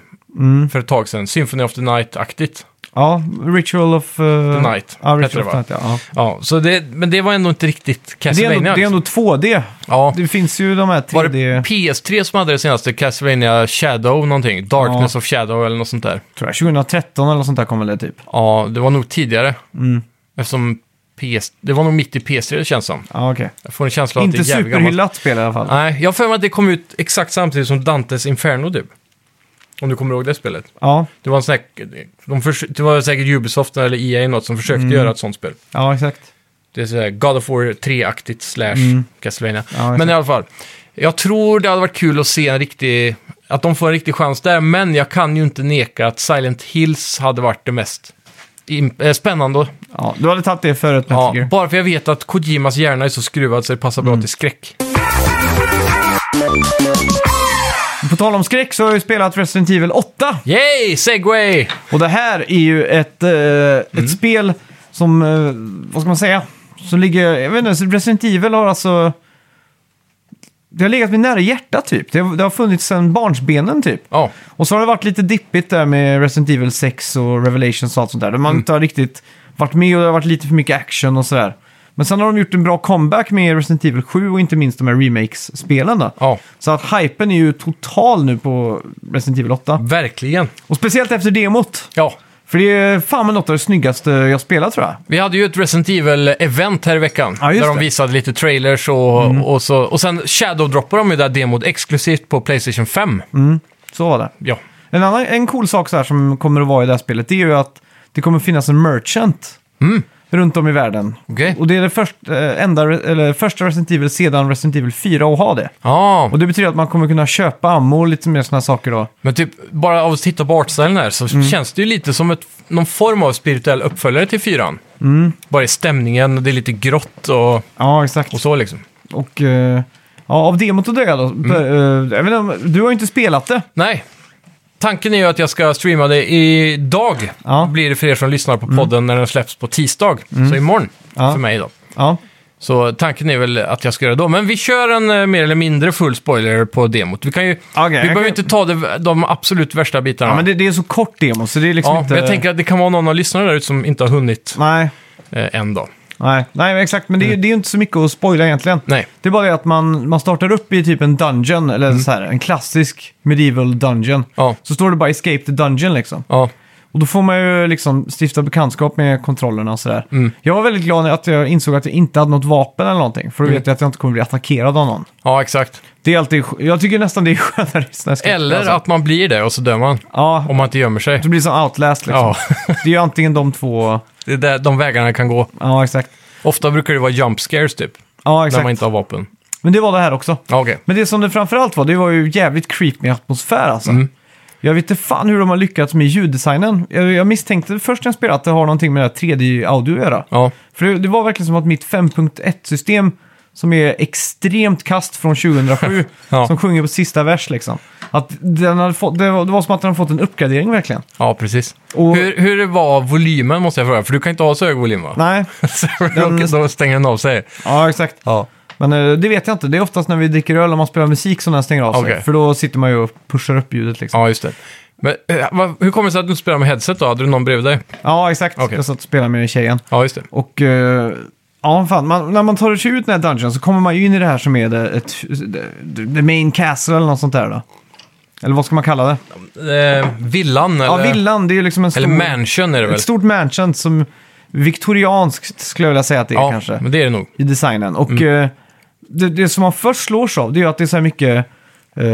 Speaker 2: för ett tag sedan. Symphony of the Night-aktigt.
Speaker 1: Ja, Ritual of... eh,
Speaker 2: The Night,
Speaker 1: Ja,
Speaker 2: heter
Speaker 1: Ritual
Speaker 2: det,
Speaker 1: of
Speaker 2: va?
Speaker 1: the Night, ja. ja.
Speaker 2: Ja, så det, men det var ändå inte riktigt
Speaker 1: Det, är
Speaker 2: Castlevania.
Speaker 1: ändå, det är ändå 2D.
Speaker 2: ja.
Speaker 1: Det finns ju de här 3D...
Speaker 2: Var det PS3 som hade det senaste? Castlevania Shadow någonting? Darkness of Shadow eller något sånt där?
Speaker 1: tror jag, 2013 eller något sånt där kommer det typ.
Speaker 2: Ja, det var nog tidigare.
Speaker 1: Mm.
Speaker 2: Eftersom PS... Det var nog mitt i PS3 det känns som.
Speaker 1: Ja, okej.
Speaker 2: Jag får en känsla av att det är
Speaker 1: Inte
Speaker 2: jävligt gammalt.
Speaker 1: superhyllat spel i alla fall.
Speaker 2: Nej, jag har för mig att det kom ut exakt samtidigt som Dantes Inferno typ. Om du kommer ihåg det spelet.
Speaker 1: Ja,
Speaker 2: Det var, en sån här, de förs- det var säkert Ubisoft eller EA eller något som försökte
Speaker 1: Mm.
Speaker 2: göra ett sånt spel.
Speaker 1: ja exakt.
Speaker 2: Det är sådär God of War 3-aktigt slash Castlevania.
Speaker 1: Mm. exakt.
Speaker 2: men i alla fall, jag tror det hade varit kul att se en riktig, att de får en riktig chans där, men jag kan ju inte neka att Silent Hills hade varit det mest im- eh, spännande.
Speaker 1: Ja, du hade tagit det Mm. för ett Metal
Speaker 2: Ja,
Speaker 1: Gear.
Speaker 2: bara för jag vet att Kojimas hjärna är så skruvad så det passar bra till skräck.
Speaker 1: På tal om skräck så har jag ju spelat Resident Evil 8.
Speaker 2: Yay, segway!
Speaker 1: Och det här är ju ett, eh, ett spel som, eh, vad ska man säga, som ligger, jag vet inte, så Resident Evil har alltså... Det har legat mig nära hjärtat typ. Det har, det har funnits sedan barnsbenen typ.
Speaker 2: Ja,
Speaker 1: Och så har det varit lite dippigt där med Resident Evil 6 och Revelations och allt sånt där. Där man inte har riktigt varit med och det har varit lite för mycket action och sådär. Men sen har de gjort en bra comeback med Resident Evil 7 och inte minst de här remakes-spelen då.
Speaker 2: ja,
Speaker 1: Så att hypen är ju total nu på Resident Evil 8.
Speaker 2: verkligen.
Speaker 1: Och speciellt efter demot.
Speaker 2: Ja,
Speaker 1: För det är fan med något av det snyggaste jag spelat tror jag.
Speaker 2: vi hade ju ett Resident Evil-event här i veckan.
Speaker 1: Ja, just
Speaker 2: där de
Speaker 1: det. Mm.
Speaker 2: visade lite trailers och, och så. Och sen shadow-droppade de ju det där demot exklusivt på Playstation 5.
Speaker 1: Mm. Så var det.
Speaker 2: Ja.
Speaker 1: En annan en cool sak så här som kommer att vara i det här spelet det är ju att det kommer finnas en merchant runt om i världen.
Speaker 2: Mm. Okej.
Speaker 1: Och det är det första, eh, enda, re- eller första Resident Evil sedan Resident Evil 4 att ha det.
Speaker 2: Ja,
Speaker 1: Och det betyder att man kommer kunna köpa ammo och lite mer sådana saker då.
Speaker 2: men typ bara av att titta på artstylen här så
Speaker 1: Mm.
Speaker 2: känns det ju lite som ett, någon form av spirituell uppföljare till fyran.
Speaker 1: Mm.
Speaker 2: Bara i stämningen, det är lite grått och,
Speaker 1: Ja, exakt.
Speaker 2: och så liksom.
Speaker 1: Och eh, ja, av demot att döda då.
Speaker 2: Mm.
Speaker 1: eh, jag vet inte om- du har ju inte spelat det.
Speaker 2: Nej, tanken är ju att jag ska streama det idag.
Speaker 1: Ja. Mm.
Speaker 2: Blir det för er som lyssnar på podden när den släpps på tisdag. Så imorgon,
Speaker 1: Ja.
Speaker 2: för mig då.
Speaker 1: Ja,
Speaker 2: Så tanken är väl att jag ska göra det då. Men vi kör en eh, mer eller mindre full spoiler på demot. Vi, kan ju,
Speaker 1: jag
Speaker 2: vi
Speaker 1: kan-
Speaker 2: behöver inte ta det, de absolut värsta bitarna.
Speaker 1: ja men det, det är så kort demo så det är liksom
Speaker 2: Ja,
Speaker 1: inte...
Speaker 2: Jag tänker att det kan vara någon av lyssnarna där ute som inte har hunnit
Speaker 1: Nej,
Speaker 2: eh, än då.
Speaker 1: nej, nej men exakt. Men det, är- det är ju inte så mycket att spoila egentligen.
Speaker 2: Mm. Nej.
Speaker 1: Det är bara det att man, man startar upp i typ en dungeon, eller
Speaker 2: Mm.
Speaker 1: så här, en klassisk medieval dungeon.
Speaker 2: Ja.
Speaker 1: Så står det bara escape the dungeon liksom.
Speaker 2: Ja.
Speaker 1: Och då får man ju liksom stifta bekantskap med kontrollerna och sådär.
Speaker 2: Mm.
Speaker 1: Jag var väldigt glad att jag insåg att jag inte hade något vapen eller någonting. För då
Speaker 2: Mm.
Speaker 1: vet jag att jag inte kommer bli attackerad av någon.
Speaker 2: ja, exakt.
Speaker 1: Det är alltid, jag tycker nästan det är skönare i såna här skräckspel,
Speaker 2: Eller
Speaker 1: alltså.
Speaker 2: att man blir det och så dör man.
Speaker 1: Ja,
Speaker 2: Om man inte gömmer sig.
Speaker 1: det blir som outlast liksom.
Speaker 2: Ja,
Speaker 1: Det är ju antingen de två...
Speaker 2: det är där de vägarna kan gå.
Speaker 1: Ja, exakt.
Speaker 2: Ofta brukar det vara jump scares typ.
Speaker 1: Ja,
Speaker 2: När man
Speaker 1: exakt.
Speaker 2: inte har vapen.
Speaker 1: Men det var det här också.
Speaker 2: Ja, okej.
Speaker 1: Men det som det framförallt var, det var ju jävligt creepy atmosfär alltså.
Speaker 2: Mm.
Speaker 1: Jag vet inte fan hur de har lyckats med ljuddesignen. Jag, jag misstänkte först när jag spelade att det har någonting med det här 3D-audio att göra.
Speaker 2: Ja.
Speaker 1: För det, det var verkligen som att mitt 5.1-system som är extremt kast från 2007.
Speaker 2: Ja.
Speaker 1: Som sjunger på sista vers liksom. Att den hade fått, det, var, det var som att den hade fått en uppgradering verkligen.
Speaker 2: Ja, precis.
Speaker 1: Och-
Speaker 2: Hur, hur var volymen måste jag fråga, för du kan inte ha så hög volym va?
Speaker 1: Nej,
Speaker 2: Så då- Då stänger den av sig.
Speaker 1: ja exakt.
Speaker 2: Ja.
Speaker 1: Men eh, det vet jag inte. Det är oftast när vi dricker öl och man spelar musik som den stänger av sig.
Speaker 2: Okej.
Speaker 1: För då sitter man ju och pushar upp ljudet liksom.
Speaker 2: ja, just det. Men eh, vad- hur kommer det sig att du inte spelar med headset då? Hade du någon bredvid dig?
Speaker 1: Ja, exakt.
Speaker 2: Okej.
Speaker 1: Jag satt och spelade med tjejen.
Speaker 2: Ja, just det.
Speaker 1: Och eh, ja, fan, man, när man tar sig ut den här dungeon så kommer man ju in i det här som är det, ett, det, the main castle eller något sånt där då. Eller vad ska man kalla det?
Speaker 2: Eh, villan eller?
Speaker 1: Ja, villan. Det är ju liksom en stor,
Speaker 2: Eller mansion är det väl?
Speaker 1: ett stort mansion som viktorianskt skulle jag vilja säga att det är
Speaker 2: ja,
Speaker 1: kanske.
Speaker 2: men Mm. det är det nog.
Speaker 1: I designen. Och eh, det, det som man först slås av det är ju att det är så här mycket eh,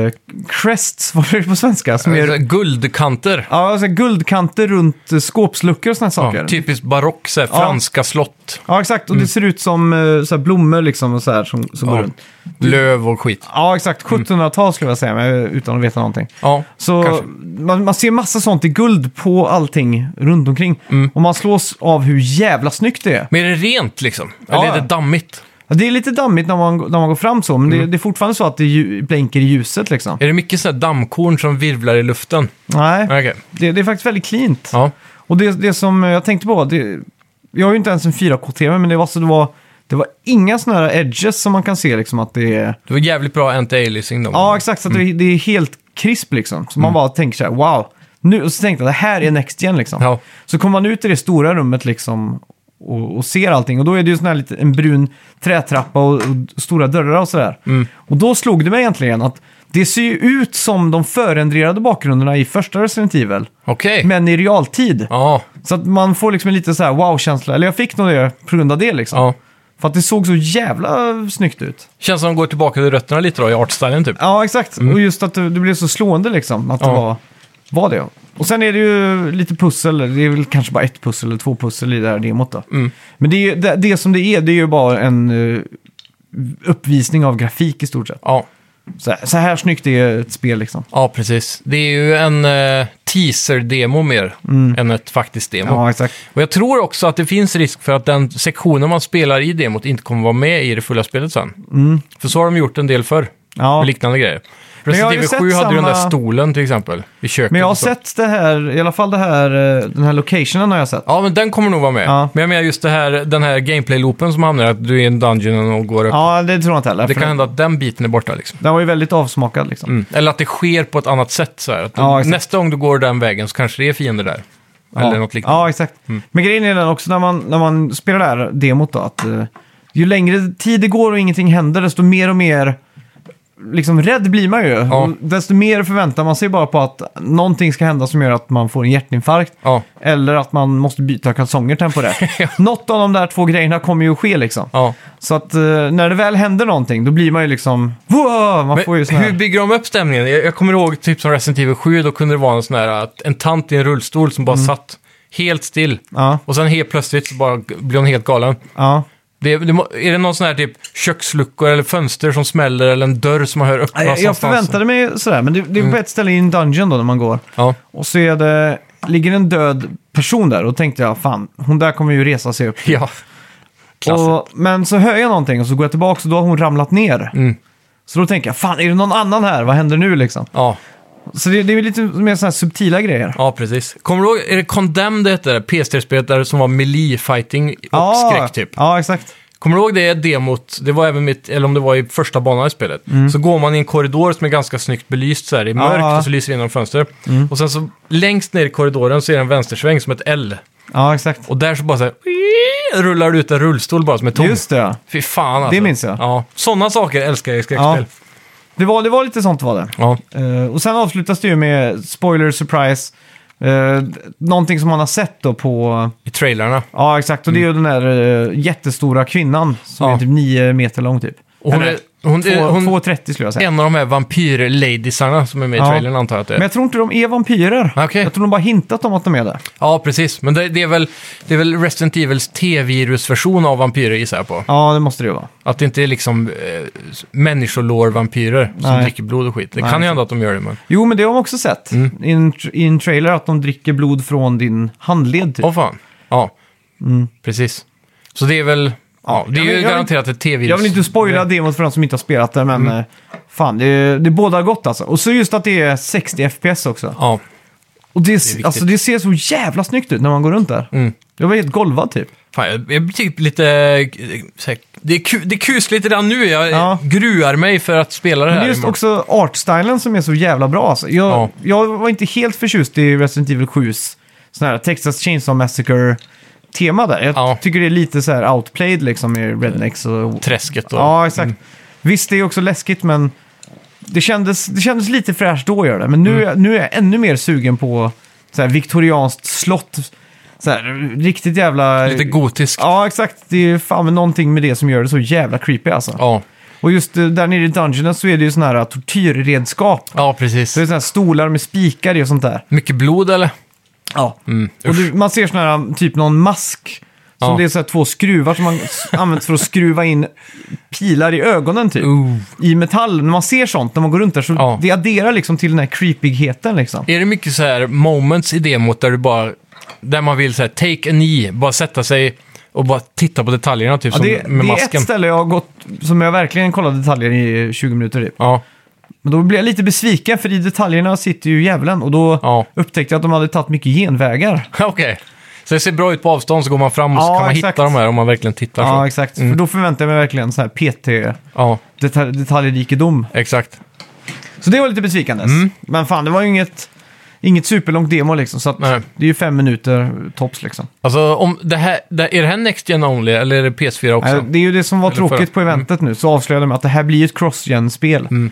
Speaker 1: crests, vad är det på svenska? Som är,
Speaker 2: Guldkanter.
Speaker 1: ja, alltså guldkanter runt eh, skåpsluckor och sådana saker.
Speaker 2: Ja, typ. typiskt barock, så här,
Speaker 1: Ja.
Speaker 2: franska slott,
Speaker 1: Ja, exakt. Och det ser ut som eh, så här blommor liksom och så här som, som går
Speaker 2: Ja.
Speaker 1: runt.
Speaker 2: löv och skit.
Speaker 1: Ja, exakt.
Speaker 2: Mm.
Speaker 1: 1700-tal skulle jag säga, men utan att veta någonting.
Speaker 2: Ja,
Speaker 1: Så
Speaker 2: kanske.
Speaker 1: man, man ser massa sånt i guld på allting runt omkring.
Speaker 2: Mm.
Speaker 1: Och man slås av hur jävla snyggt det är.
Speaker 2: Men är det rent liksom?
Speaker 1: Ja,
Speaker 2: Eller är
Speaker 1: ja.
Speaker 2: det dammigt?
Speaker 1: Ja, Det är lite dammigt när man, när man går fram så, men det,
Speaker 2: Mm.
Speaker 1: det är fortfarande så att det ju, blänker i ljuset liksom.
Speaker 2: Är det mycket sådana dammkorn som virvlar i luften?
Speaker 1: Nej,
Speaker 2: Okej.
Speaker 1: det, det är faktiskt väldigt cleant.
Speaker 2: Ja.
Speaker 1: Och det, det som jag tänkte på, det, jag har ju inte ens en 4K-TV, men det var, så det var, det var inga sådana här edges som man kan se liksom att det är...
Speaker 2: Det var jävligt bra anti-aliasing då.
Speaker 1: Ja, exakt. Så att det, det är helt krisp liksom. Så
Speaker 2: Mm.
Speaker 1: man bara tänker så här, wow. Nu, och så tänkte jag, det här är next gen liksom.
Speaker 2: Ja.
Speaker 1: Så kommer man ut i det stora rummet liksom och, och ser allting. Och då är det ju sån här lite, en brun trätrappa och, och stora dörrar och sådär.
Speaker 2: Mm.
Speaker 1: Och då slog det mig egentligen att det ser ju ut som de förändrade bakgrunderna i första Resident Evil,
Speaker 2: Okej.
Speaker 1: men i realtid.
Speaker 2: Ja,
Speaker 1: Så att man får liksom en lite så här wow-känsla. Eller jag fick nog det på grund av det liksom.
Speaker 2: ja.
Speaker 1: För att det såg så jävla snyggt ut.
Speaker 2: Känns som de går tillbaka till rötterna lite då i artstylen typ.
Speaker 1: Ja, exakt. Och just att det, det blev så slående liksom. Att det
Speaker 2: Ja.
Speaker 1: var, var det. Och sen är det ju lite pussel. Det är väl kanske bara ett pussel eller två pussel i det här demot då.
Speaker 2: Mm.
Speaker 1: Men det, är, ju- det, det som det är, det är ju bara en eh, uppvisning av grafik i stort sett.
Speaker 2: Ja,
Speaker 1: Så här, så här snyggt är ett spel liksom.
Speaker 2: ja precis. Det är ju en eh, teaser-demo mer än ett faktiskt demo.
Speaker 1: Mm. Ja, exakt.
Speaker 2: Och jag tror också att det finns risk för att den sektionen man spelar i demot inte kommer vara med i det fulla spelet sen.
Speaker 1: Mm.
Speaker 2: För så har de gjort en del förr,
Speaker 1: Ja.
Speaker 2: med liknande grejer.
Speaker 1: jag har
Speaker 2: Resident
Speaker 1: ju
Speaker 2: Evil 7
Speaker 1: sett
Speaker 2: hade ju den där
Speaker 1: samma-
Speaker 2: stolen till exempel, i köket.
Speaker 1: Men jag har
Speaker 2: och så.
Speaker 1: sett det här, i alla fall det här, eh, den här locationen har jag sett.
Speaker 2: Ja, men den kommer nog vara med.
Speaker 1: Ja.
Speaker 2: Men jag menar just det här, den här gameplay-loopen som hamnar, att du är i en dungeon och går upp.
Speaker 1: Ja, det tror jag inte heller. för
Speaker 2: det kan
Speaker 1: den,
Speaker 2: hända att den biten är borta liksom.
Speaker 1: den var ju väldigt avsmakad liksom.
Speaker 2: Mm. Eller att det sker på ett annat sätt. Så här. Att
Speaker 1: Ja, exakt.
Speaker 2: nästa gång du går den vägen så kanske det är fiender där. Eller något liknande. Mm.
Speaker 1: Ja, exakt. Men grejen är den också när man, när man spelar det här demot då, att eh, ju längre tid det går och ingenting händer, desto mer och mer liksom rädd blir man ju. Och desto mer förväntar man sig bara på att någonting ska hända som gör att man får en hjärtinfarkt.
Speaker 2: Ja.
Speaker 1: Eller att man måste byta kalsonger temporärt. Något av de där två grejerna kommer ju att ske liksom.
Speaker 2: Ja.
Speaker 1: Så att eh, när det väl händer någonting, då blir man ju liksom... Wow! Man får ju sån
Speaker 2: Men hur
Speaker 1: här...
Speaker 2: bygger de upp stämningen? Jag, jag kommer ihåg typ som Resident Evil 7, då kunde det vara en sån här, att en tant i en rullstol som bara satt helt still.
Speaker 1: Mm. Ja,
Speaker 2: Och sen helt plötsligt så bara g- blir hon helt galen.
Speaker 1: ja.
Speaker 2: Det, det, må- är det någon sån här typ köksluckor eller fönster som smäller eller en dörr som Mm. man hör öppnas
Speaker 1: Jag, jag
Speaker 2: någonstans?
Speaker 1: förväntade mig sådär, men det, det är på ett ställe i en dungeon då när man går.
Speaker 2: Ja,
Speaker 1: Och så är det, ligger en död person där och tänkte jag fan, hon där kommer ju resa sig upp.
Speaker 2: ja. Klassiskt.
Speaker 1: Och, men så hör jag någonting och så går jag tillbaka och då har hon ramlat ner.
Speaker 2: Mm.
Speaker 1: Så då tänker jag, fan är det någon annan här? Vad händer nu liksom?
Speaker 2: ja.
Speaker 1: Så det, det är lite mer sådana här subtila grejer.
Speaker 2: Ja, precis. Kommer du ihåg, är det Condemned det hette? PS3-spelet där som var melee fighting och skräck typ.
Speaker 1: Ja, exakt.
Speaker 2: Kommer du ihåg det demot? Det var även mitt, eller om det var i första banan i spelet. Så går man i en korridor som är ganska snyggt belyst så här i
Speaker 1: Mm.
Speaker 2: mörkt
Speaker 1: ja. Mm.
Speaker 2: och så lyser det in genom fönster. Och sen så längst ner i korridoren så är det en vänstersväng som ett L.
Speaker 1: Ja, exakt.
Speaker 2: Och där så bara så här, rullar du ut en rullstol bara som är tom.
Speaker 1: Just det, ja.
Speaker 2: Fy fan alltså.
Speaker 1: Det minns jag.
Speaker 2: Ja, sådana saker älskar jag i skräckspel.
Speaker 1: det var, det var lite sånt var det.
Speaker 2: Ja.
Speaker 1: Eh, och sen avslutas det ju med spoiler surprise. Uh, någonting som man har sett då på...
Speaker 2: I trailerna.
Speaker 1: Ja, exakt. Och det är ju den där eh, jättestora kvinnan som
Speaker 2: Mm. Ja.
Speaker 1: är typ nio meter lång typ.
Speaker 2: Och hon
Speaker 1: Eller-
Speaker 2: är, hon,
Speaker 1: Två-
Speaker 2: hon,
Speaker 1: 2,30 skulle jag säga.
Speaker 2: en av de här vampyr-ladiesarna som är med i
Speaker 1: Ja.
Speaker 2: trailern antar jag att det är.
Speaker 1: Men jag tror inte de är vampyrer.
Speaker 2: Okej.
Speaker 1: Jag tror de bara hintat om att de är det.
Speaker 2: Ja, precis. Men det, det, är väl, det är väl Resident Evils T-virusversion av vampyrer gissar jag på.
Speaker 1: Ja, det måste det ju vara.
Speaker 2: Att det inte är liksom eh, människolår-vampyrer som
Speaker 1: Nej.
Speaker 2: dricker blod och skit. Det
Speaker 1: Nej,
Speaker 2: kan ju hända att de gör det, men...
Speaker 1: Jo, men det har de också sett.
Speaker 2: Mm.
Speaker 1: I, en, tr- I en trailer att de dricker blod från din handled typ.
Speaker 2: Åh fan. Ja, precis. Så det är väl... Ja, det är
Speaker 1: Mm. Jag
Speaker 2: ju
Speaker 1: vill-
Speaker 2: garanterat ett tv
Speaker 1: Jag vill inte spoila demot för de som inte har spelat det,
Speaker 2: Mm.
Speaker 1: men eh, fan, det, är- det är båda gott alltså. Och så just att det är 60 FPS också.
Speaker 2: Ja,
Speaker 1: Och det,
Speaker 2: viktigt.
Speaker 1: alltså, det ser så jävla snyggt ut när man går runt där.
Speaker 2: Mm.
Speaker 1: Jag var helt golvad typ.
Speaker 2: fan, jag, jag blir typ lite... eh, så här- Det är, ku, det är kusligt redan nu. Jag
Speaker 1: Ja.
Speaker 2: gruar mig för att spela det
Speaker 1: Men det
Speaker 2: här.
Speaker 1: är just
Speaker 2: imorgon.
Speaker 1: också artstylen som är så jävla bra. Alltså. Jag,
Speaker 2: Ja.
Speaker 1: jag var inte helt förtjust i Resident Evil 7s sån här Texas Chainsaw Massacre-tema där. Jag
Speaker 2: Ja.
Speaker 1: tycker det är lite så här outplayed liksom i Rednecks och...
Speaker 2: Träsket och... Mm.
Speaker 1: Ja, exakt. Visst, det är också läskigt, men det kändes, det kändes lite fräscht då, gör det. Men
Speaker 2: Mm.
Speaker 1: nu, är jag- nu är jag ännu mer sugen på så här, viktorianskt slott. Så här, riktigt jävla...
Speaker 2: Lite gotiskt.
Speaker 1: Ja, exakt. Det är fan med någonting med det som gör det så jävla creepy alltså.
Speaker 2: Ja.
Speaker 1: Och just eh, där nere i dungeonen så är det ju sådana här eh, tortyrredskap.
Speaker 2: ja, precis.
Speaker 1: Så det är sådana här stolar med spikar i och sånt där.
Speaker 2: Mycket blod eller?
Speaker 1: Ja.
Speaker 2: Mm.
Speaker 1: Och du, man ser sådana här, typ någon mask. Som
Speaker 2: Ja.
Speaker 1: det är så här två skruvar som man s- används för att skruva in pilar i ögonen typ.
Speaker 2: Ooh.
Speaker 1: I metall. När man ser sånt, när man går runt där, så
Speaker 2: Mm. Ja.
Speaker 1: det adderar liksom till den här creepigheten liksom.
Speaker 2: Är det mycket så här moments i demot där du bara... Där man vill så här take a knee, bara sätta sig och bara titta på detaljerna typ
Speaker 1: Ja,
Speaker 2: som
Speaker 1: det,
Speaker 2: med
Speaker 1: det är
Speaker 2: masken?
Speaker 1: ett ställe jag har gått, som jag verkligen kollat detaljer i 20 minuter typ.
Speaker 2: Ja,
Speaker 1: Men då blev jag lite besviken för i detaljerna sitter ju djävulen och då
Speaker 2: Ja.
Speaker 1: upptäckte jag att de hade tagit mycket genvägar.
Speaker 2: okej. Så det ser bra ut på avstånd så går man fram och så
Speaker 1: Ja,
Speaker 2: kan man
Speaker 1: exakt.
Speaker 2: hitta de här om man verkligen tittar.
Speaker 1: Ja,
Speaker 2: så. Mm.
Speaker 1: exakt. För då förväntar jag mig verkligen så här PT,
Speaker 2: ja
Speaker 1: detalj, detaljrikedom.
Speaker 2: exakt.
Speaker 1: Så det var lite besvikandes.
Speaker 2: Mm.
Speaker 1: Men fan, det var ju inget, inget superlångt demo liksom. Så att
Speaker 2: Nej.
Speaker 1: det är ju fem minuter tops liksom.
Speaker 2: Alltså, om det här, det, är det här Next Gen Only eller är det PS4 också?
Speaker 1: Nej, Det är ju det som var
Speaker 2: Eller Mm.
Speaker 1: tråkigt
Speaker 2: förra.
Speaker 1: på eventet nu. Så avslöjade de att det här blir ju ett cross-gen-spel.
Speaker 2: Mm.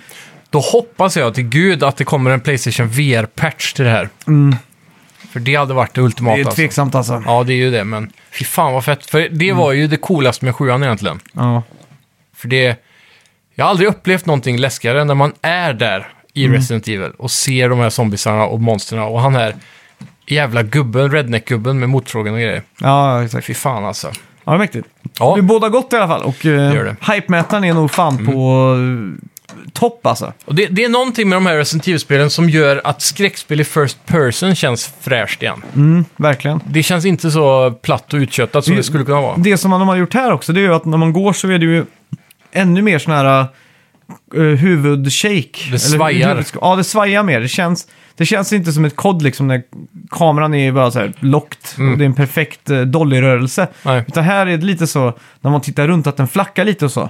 Speaker 2: Då hoppas jag till gud att det kommer en Playstation VR-patch till det här. För det hade varit det ultimata.
Speaker 1: Mm. Det är
Speaker 2: alltså.
Speaker 1: tveksamt alltså.
Speaker 2: Ja, det är ju det, men fy fan vad fett. För det var
Speaker 1: Mm.
Speaker 2: ju det coolaste med sjuan egentligen.
Speaker 1: Ja.
Speaker 2: För det... Jag har aldrig upplevt någonting läskigare än när man är där i
Speaker 1: Mm.
Speaker 2: Resident Evil och ser de här zombisarna och monsterna och han här jävla gubben, redneck-gubben med motorsågen och grejer.
Speaker 1: ja, exakt.
Speaker 2: Fy fan alltså.
Speaker 1: Ja, det är mäktigt.
Speaker 2: Ja,
Speaker 1: Det är båda gott i alla fall. Och
Speaker 2: gör
Speaker 1: eh,
Speaker 2: det. Mm.
Speaker 1: hype-mätaren är nog fan på eh, topp alltså.
Speaker 2: och det, det är någonting med de här Resident Evil-spelen som gör att skräckspel i first person känns fräscht igen.
Speaker 1: Mm, verkligen.
Speaker 2: Det känns inte så platt och uttjötat som det skulle kunna vara.
Speaker 1: Det som de har gjort här också, det är ju att när man går så är det ju ännu mer sån här eh, huvudshake. Eller
Speaker 2: svajar.
Speaker 1: huvudsk- ja, det svajar mer. Det känns, det känns inte som ett kod liksom när kameran är bara så här lockt och det är en perfekt uh, dolly-rörelse.
Speaker 2: Mm. Nej.
Speaker 1: Utan här är det lite så, när man tittar runt, att den flackar lite och så.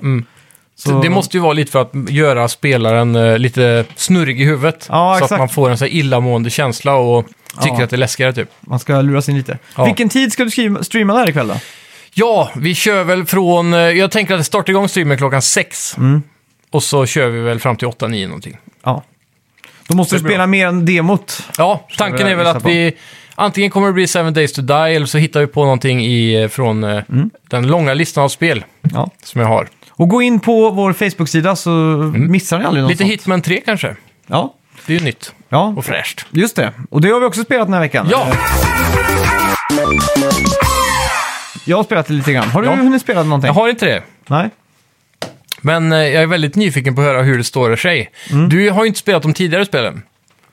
Speaker 2: Så... Mm. Det måste ju vara lite för att göra spelaren eh, lite snurrig i huvudet.
Speaker 1: Ja,
Speaker 2: så
Speaker 1: exakt.
Speaker 2: att man får en så här illamående känsla och tycker
Speaker 1: Ja.
Speaker 2: att det är läskigare typ.
Speaker 1: Man ska luras in lite.
Speaker 2: Ja.
Speaker 1: Vilken tid ska du skriva, streama där ikväll då?
Speaker 2: Ja, vi kör väl från... eh, Jag tänker att starta igång streamen klockan sex.
Speaker 1: Mm.
Speaker 2: Och så kör vi väl fram till 8-9 någonting.
Speaker 1: Ja. Då måste
Speaker 2: Det
Speaker 1: du
Speaker 2: blir
Speaker 1: spela mer än demot.
Speaker 2: Ja, tanken
Speaker 1: vi
Speaker 2: är väl
Speaker 1: gissa
Speaker 2: att
Speaker 1: på.
Speaker 2: vi... Antingen kommer det bli Seven Days to Die eller så hittar vi på någonting i, eh, från eh,
Speaker 1: Mm.
Speaker 2: den långa listan av spel
Speaker 1: Ja.
Speaker 2: som jag har.
Speaker 1: Och gå in på vår Facebook-sida så missar ni aldrig något
Speaker 2: Mm. Lite
Speaker 1: sånt.
Speaker 2: Hitman 3 kanske.
Speaker 1: Ja.
Speaker 2: Det är ju nytt
Speaker 1: Ja,
Speaker 2: och fräscht.
Speaker 1: Just det, och det har vi också spelat den här veckan.
Speaker 2: Ja,
Speaker 1: Jag har spelat det lite grann. Har du
Speaker 2: Ja.
Speaker 1: hunnit spela någonting?
Speaker 2: jag har inte det.
Speaker 1: Nej.
Speaker 2: Men eh, jag är väldigt nyfiken på att höra hur det står sig.
Speaker 1: Mm.
Speaker 2: Du har ju inte spelat de tidigare spelen.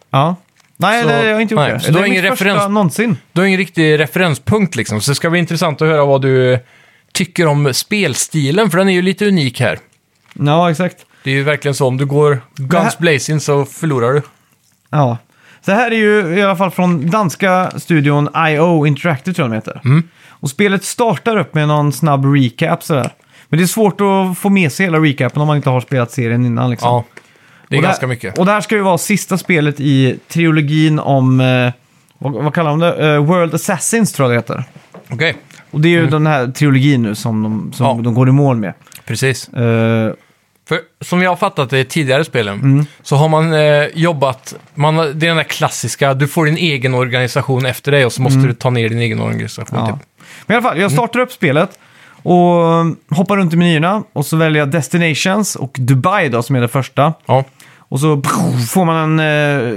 Speaker 1: Ja. Nej,
Speaker 2: Så-
Speaker 1: nej, jag har inte gjort
Speaker 2: nej,
Speaker 1: det.
Speaker 2: så du
Speaker 1: det
Speaker 2: har
Speaker 1: är
Speaker 2: ingen
Speaker 1: mitt första
Speaker 2: referens-
Speaker 1: någonsin.
Speaker 2: Du har ingen riktig referenspunkt liksom, så det ska bli intressant att höra vad du tycker om spelstilen, för den är ju lite unik här.
Speaker 1: Ja, exakt.
Speaker 2: Det är ju verkligen så, om du går
Speaker 1: Det här-
Speaker 2: guns blazing så förlorar du.
Speaker 1: Ja. Så här är ju i alla fall från danska studion IO Interactive tror jag de heter.
Speaker 2: Mm.
Speaker 1: Och spelet startar upp med någon snabb recap sådär. Men det är svårt att få med sig hela recapen om man inte har spelat serien innan liksom.
Speaker 2: Ja, det är
Speaker 1: Och
Speaker 2: ganska
Speaker 1: här,
Speaker 2: mycket.
Speaker 1: Och det här ska ju vara sista spelet i trilogin om, eh, vad, vad kallar de det? Eh, World Assassins tror jag det heter.
Speaker 2: Okej,
Speaker 1: Och det är ju den här trilogin nu som de, som
Speaker 2: Mm. Ja.
Speaker 1: de går i mål med.
Speaker 2: precis.
Speaker 1: Eh,
Speaker 2: För som jag har fattat det i tidigare spelen,
Speaker 1: Mm.
Speaker 2: så har man eh, jobbat, man, har- det är den där klassiska, du får din egen organisation efter dig och så måste du ta ner din egen organisation.
Speaker 1: Mm. ja.
Speaker 2: Typ.
Speaker 1: Men i alla fall, jag startar upp spelet och hoppar runt i menyerna och så väljer jag Destinations och Dubai då som är det första.
Speaker 2: Ja.
Speaker 1: Och så pff, får man en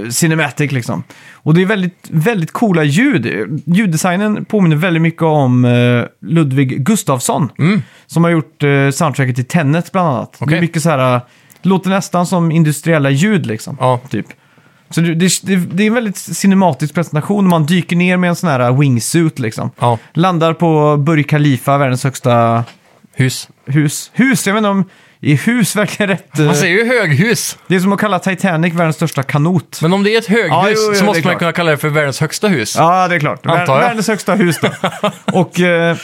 Speaker 1: eh, cinematic liksom. Och det är väldigt, väldigt coola ljud. Ljuddesignen påminner väldigt mycket om eh, Ludvig Gustafsson.
Speaker 2: Mm.
Speaker 1: Som har gjort eh, soundtracket till Tenet bland annat. Det
Speaker 2: Okej.
Speaker 1: är mycket så här, eh, det låter nästan som industriella ljud liksom.
Speaker 2: Ja.
Speaker 1: Typ. Så det, det, det, det är en väldigt cinematisk presentation. när Man dyker ner med en sån här wingsuit liksom.
Speaker 2: Ja.
Speaker 1: Landar på Burj Khalifa, världens högsta
Speaker 2: Hus.
Speaker 1: Hus. Hus, jag vet inte om... I hus verkligen rätt. eh,
Speaker 2: Man säger ju höghus.
Speaker 1: Det är som att kalla Titanic världens största kanot.
Speaker 2: Men om det är ett höghus
Speaker 1: Ja, jo, jo, det
Speaker 2: så
Speaker 1: är
Speaker 2: måste man
Speaker 1: klart.
Speaker 2: kunna kalla det för världens högsta hus.
Speaker 1: Ja, det är klart. Vär,
Speaker 2: Antar jag.
Speaker 1: världens högsta hus då. Och eh,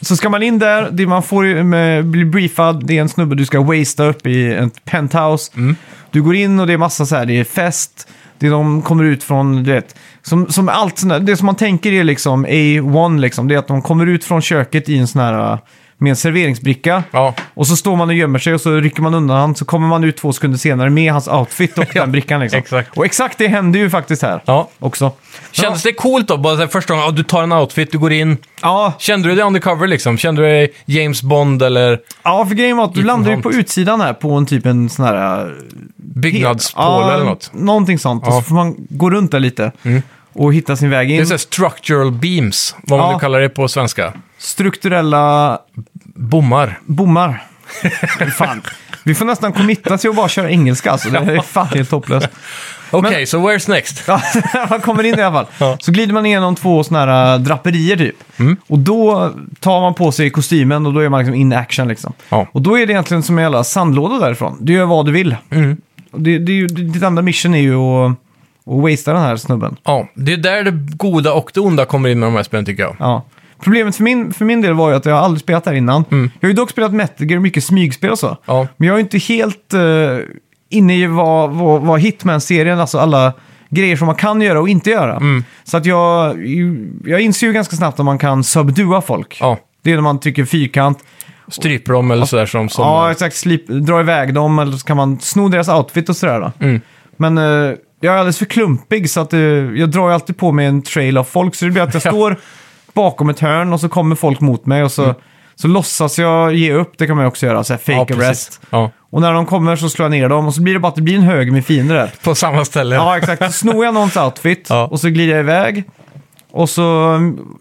Speaker 1: så ska man in där, det man får ju med, blir briefad, det är en snubbe du ska wastea upp i ett penthouse.
Speaker 2: Mm.
Speaker 1: Du går in och det är massa så här, det är fest, det är de kommer ut från, du vet, som, som allt sånt där, det som man tänker är liksom A1 liksom, det är att de kommer ut från köket i en sån här, eh, med en serveringsbricka.
Speaker 2: Ja.
Speaker 1: Och så står man och gömmer sig och så rycker man undan han, så kommer man ut två sekunder senare med hans outfit och
Speaker 2: Ja,
Speaker 1: den brickan liksom.
Speaker 2: exakt.
Speaker 1: Och exakt det hände ju faktiskt här
Speaker 2: Ja.
Speaker 1: också.
Speaker 2: Kändes det coolt då? Bara så här, första gången, ja, du tar en outfit, du går in.
Speaker 1: Ja,
Speaker 2: Kände du dig undercover liksom? Kände du dig James Bond eller
Speaker 1: Ja, för grejen var att du
Speaker 2: Ethan
Speaker 1: landade ju
Speaker 2: Hunt.
Speaker 1: på utsidan här på en typ en sån här... eh,
Speaker 2: byggnadspål
Speaker 1: ja,
Speaker 2: eller något?
Speaker 1: Någonting sånt. Och
Speaker 2: Ja. Mm.
Speaker 1: så får man gå runt där lite och hitta sin väg
Speaker 2: Det är
Speaker 1: in.
Speaker 2: så här structural beams, vad man
Speaker 1: Ja.
Speaker 2: nu kallar det på svenska.
Speaker 1: Strukturella
Speaker 2: Bommar.
Speaker 1: bommar. fan. Vi får nästan committa till att bara köra engelska alltså. Det är fan helt hopplöst.
Speaker 2: Okej, så where's next?
Speaker 1: Ja, man kommer in i alla fall.
Speaker 2: Ja. Mm.
Speaker 1: Så glider man igenom två såna här äh, draperier typ. Och då tar man på sig kostymen och då är man liksom in action liksom.
Speaker 2: Ja.
Speaker 1: Och då är det egentligen som en jävla sandlåda därifrån. Du gör vad du vill.
Speaker 2: Mm.
Speaker 1: Och det, det, är ju- ditt andra mission är ju att, att wastea den här snubben.
Speaker 2: Ja, det är där det goda och det onda kommer in med de här spelen tycker jag.
Speaker 1: Ja. Problemet för min, för min del var ju att jag aldrig spelat där innan. Jag har ju dock spelat Metal Gear, mycket smygspel och så.
Speaker 2: Mm. Ja.
Speaker 1: Men jag är ju inte helt eh, inne i vad, vad, vad Hitman-serien, alltså alla grejer som man kan göra och inte göra.
Speaker 2: Mm.
Speaker 1: Så att jag, jag inser ju ganska snabbt att man kan subdua folk.
Speaker 2: Ja,
Speaker 1: Det är när man trycker fyrkant.
Speaker 2: stryper dem eller sådär som... som
Speaker 1: Ja, exakt. Slip, dra iväg dem eller så kan man sno deras outfit och sådär. Då.
Speaker 2: Mm.
Speaker 1: Men eh, jag är alldeles för klumpig så att eh, jag drar ju alltid på mig en trail av folk. Så det blir att jag
Speaker 2: Ja.
Speaker 1: står bakom ett hörn och så kommer folk mot mig och så, så låtsas jag ge upp. Det kan man ju också göra, så här
Speaker 2: Mm. ja,
Speaker 1: fake
Speaker 2: precis.
Speaker 1: arrest.
Speaker 2: Ja,
Speaker 1: Och när de kommer så slår jag ner dem och så blir det bara att det blir en hög med fiender där.
Speaker 2: på samma ställe.
Speaker 1: Ja, exakt. Så snor jag någons outfit
Speaker 2: Ja.
Speaker 1: och så glider jag iväg. Och så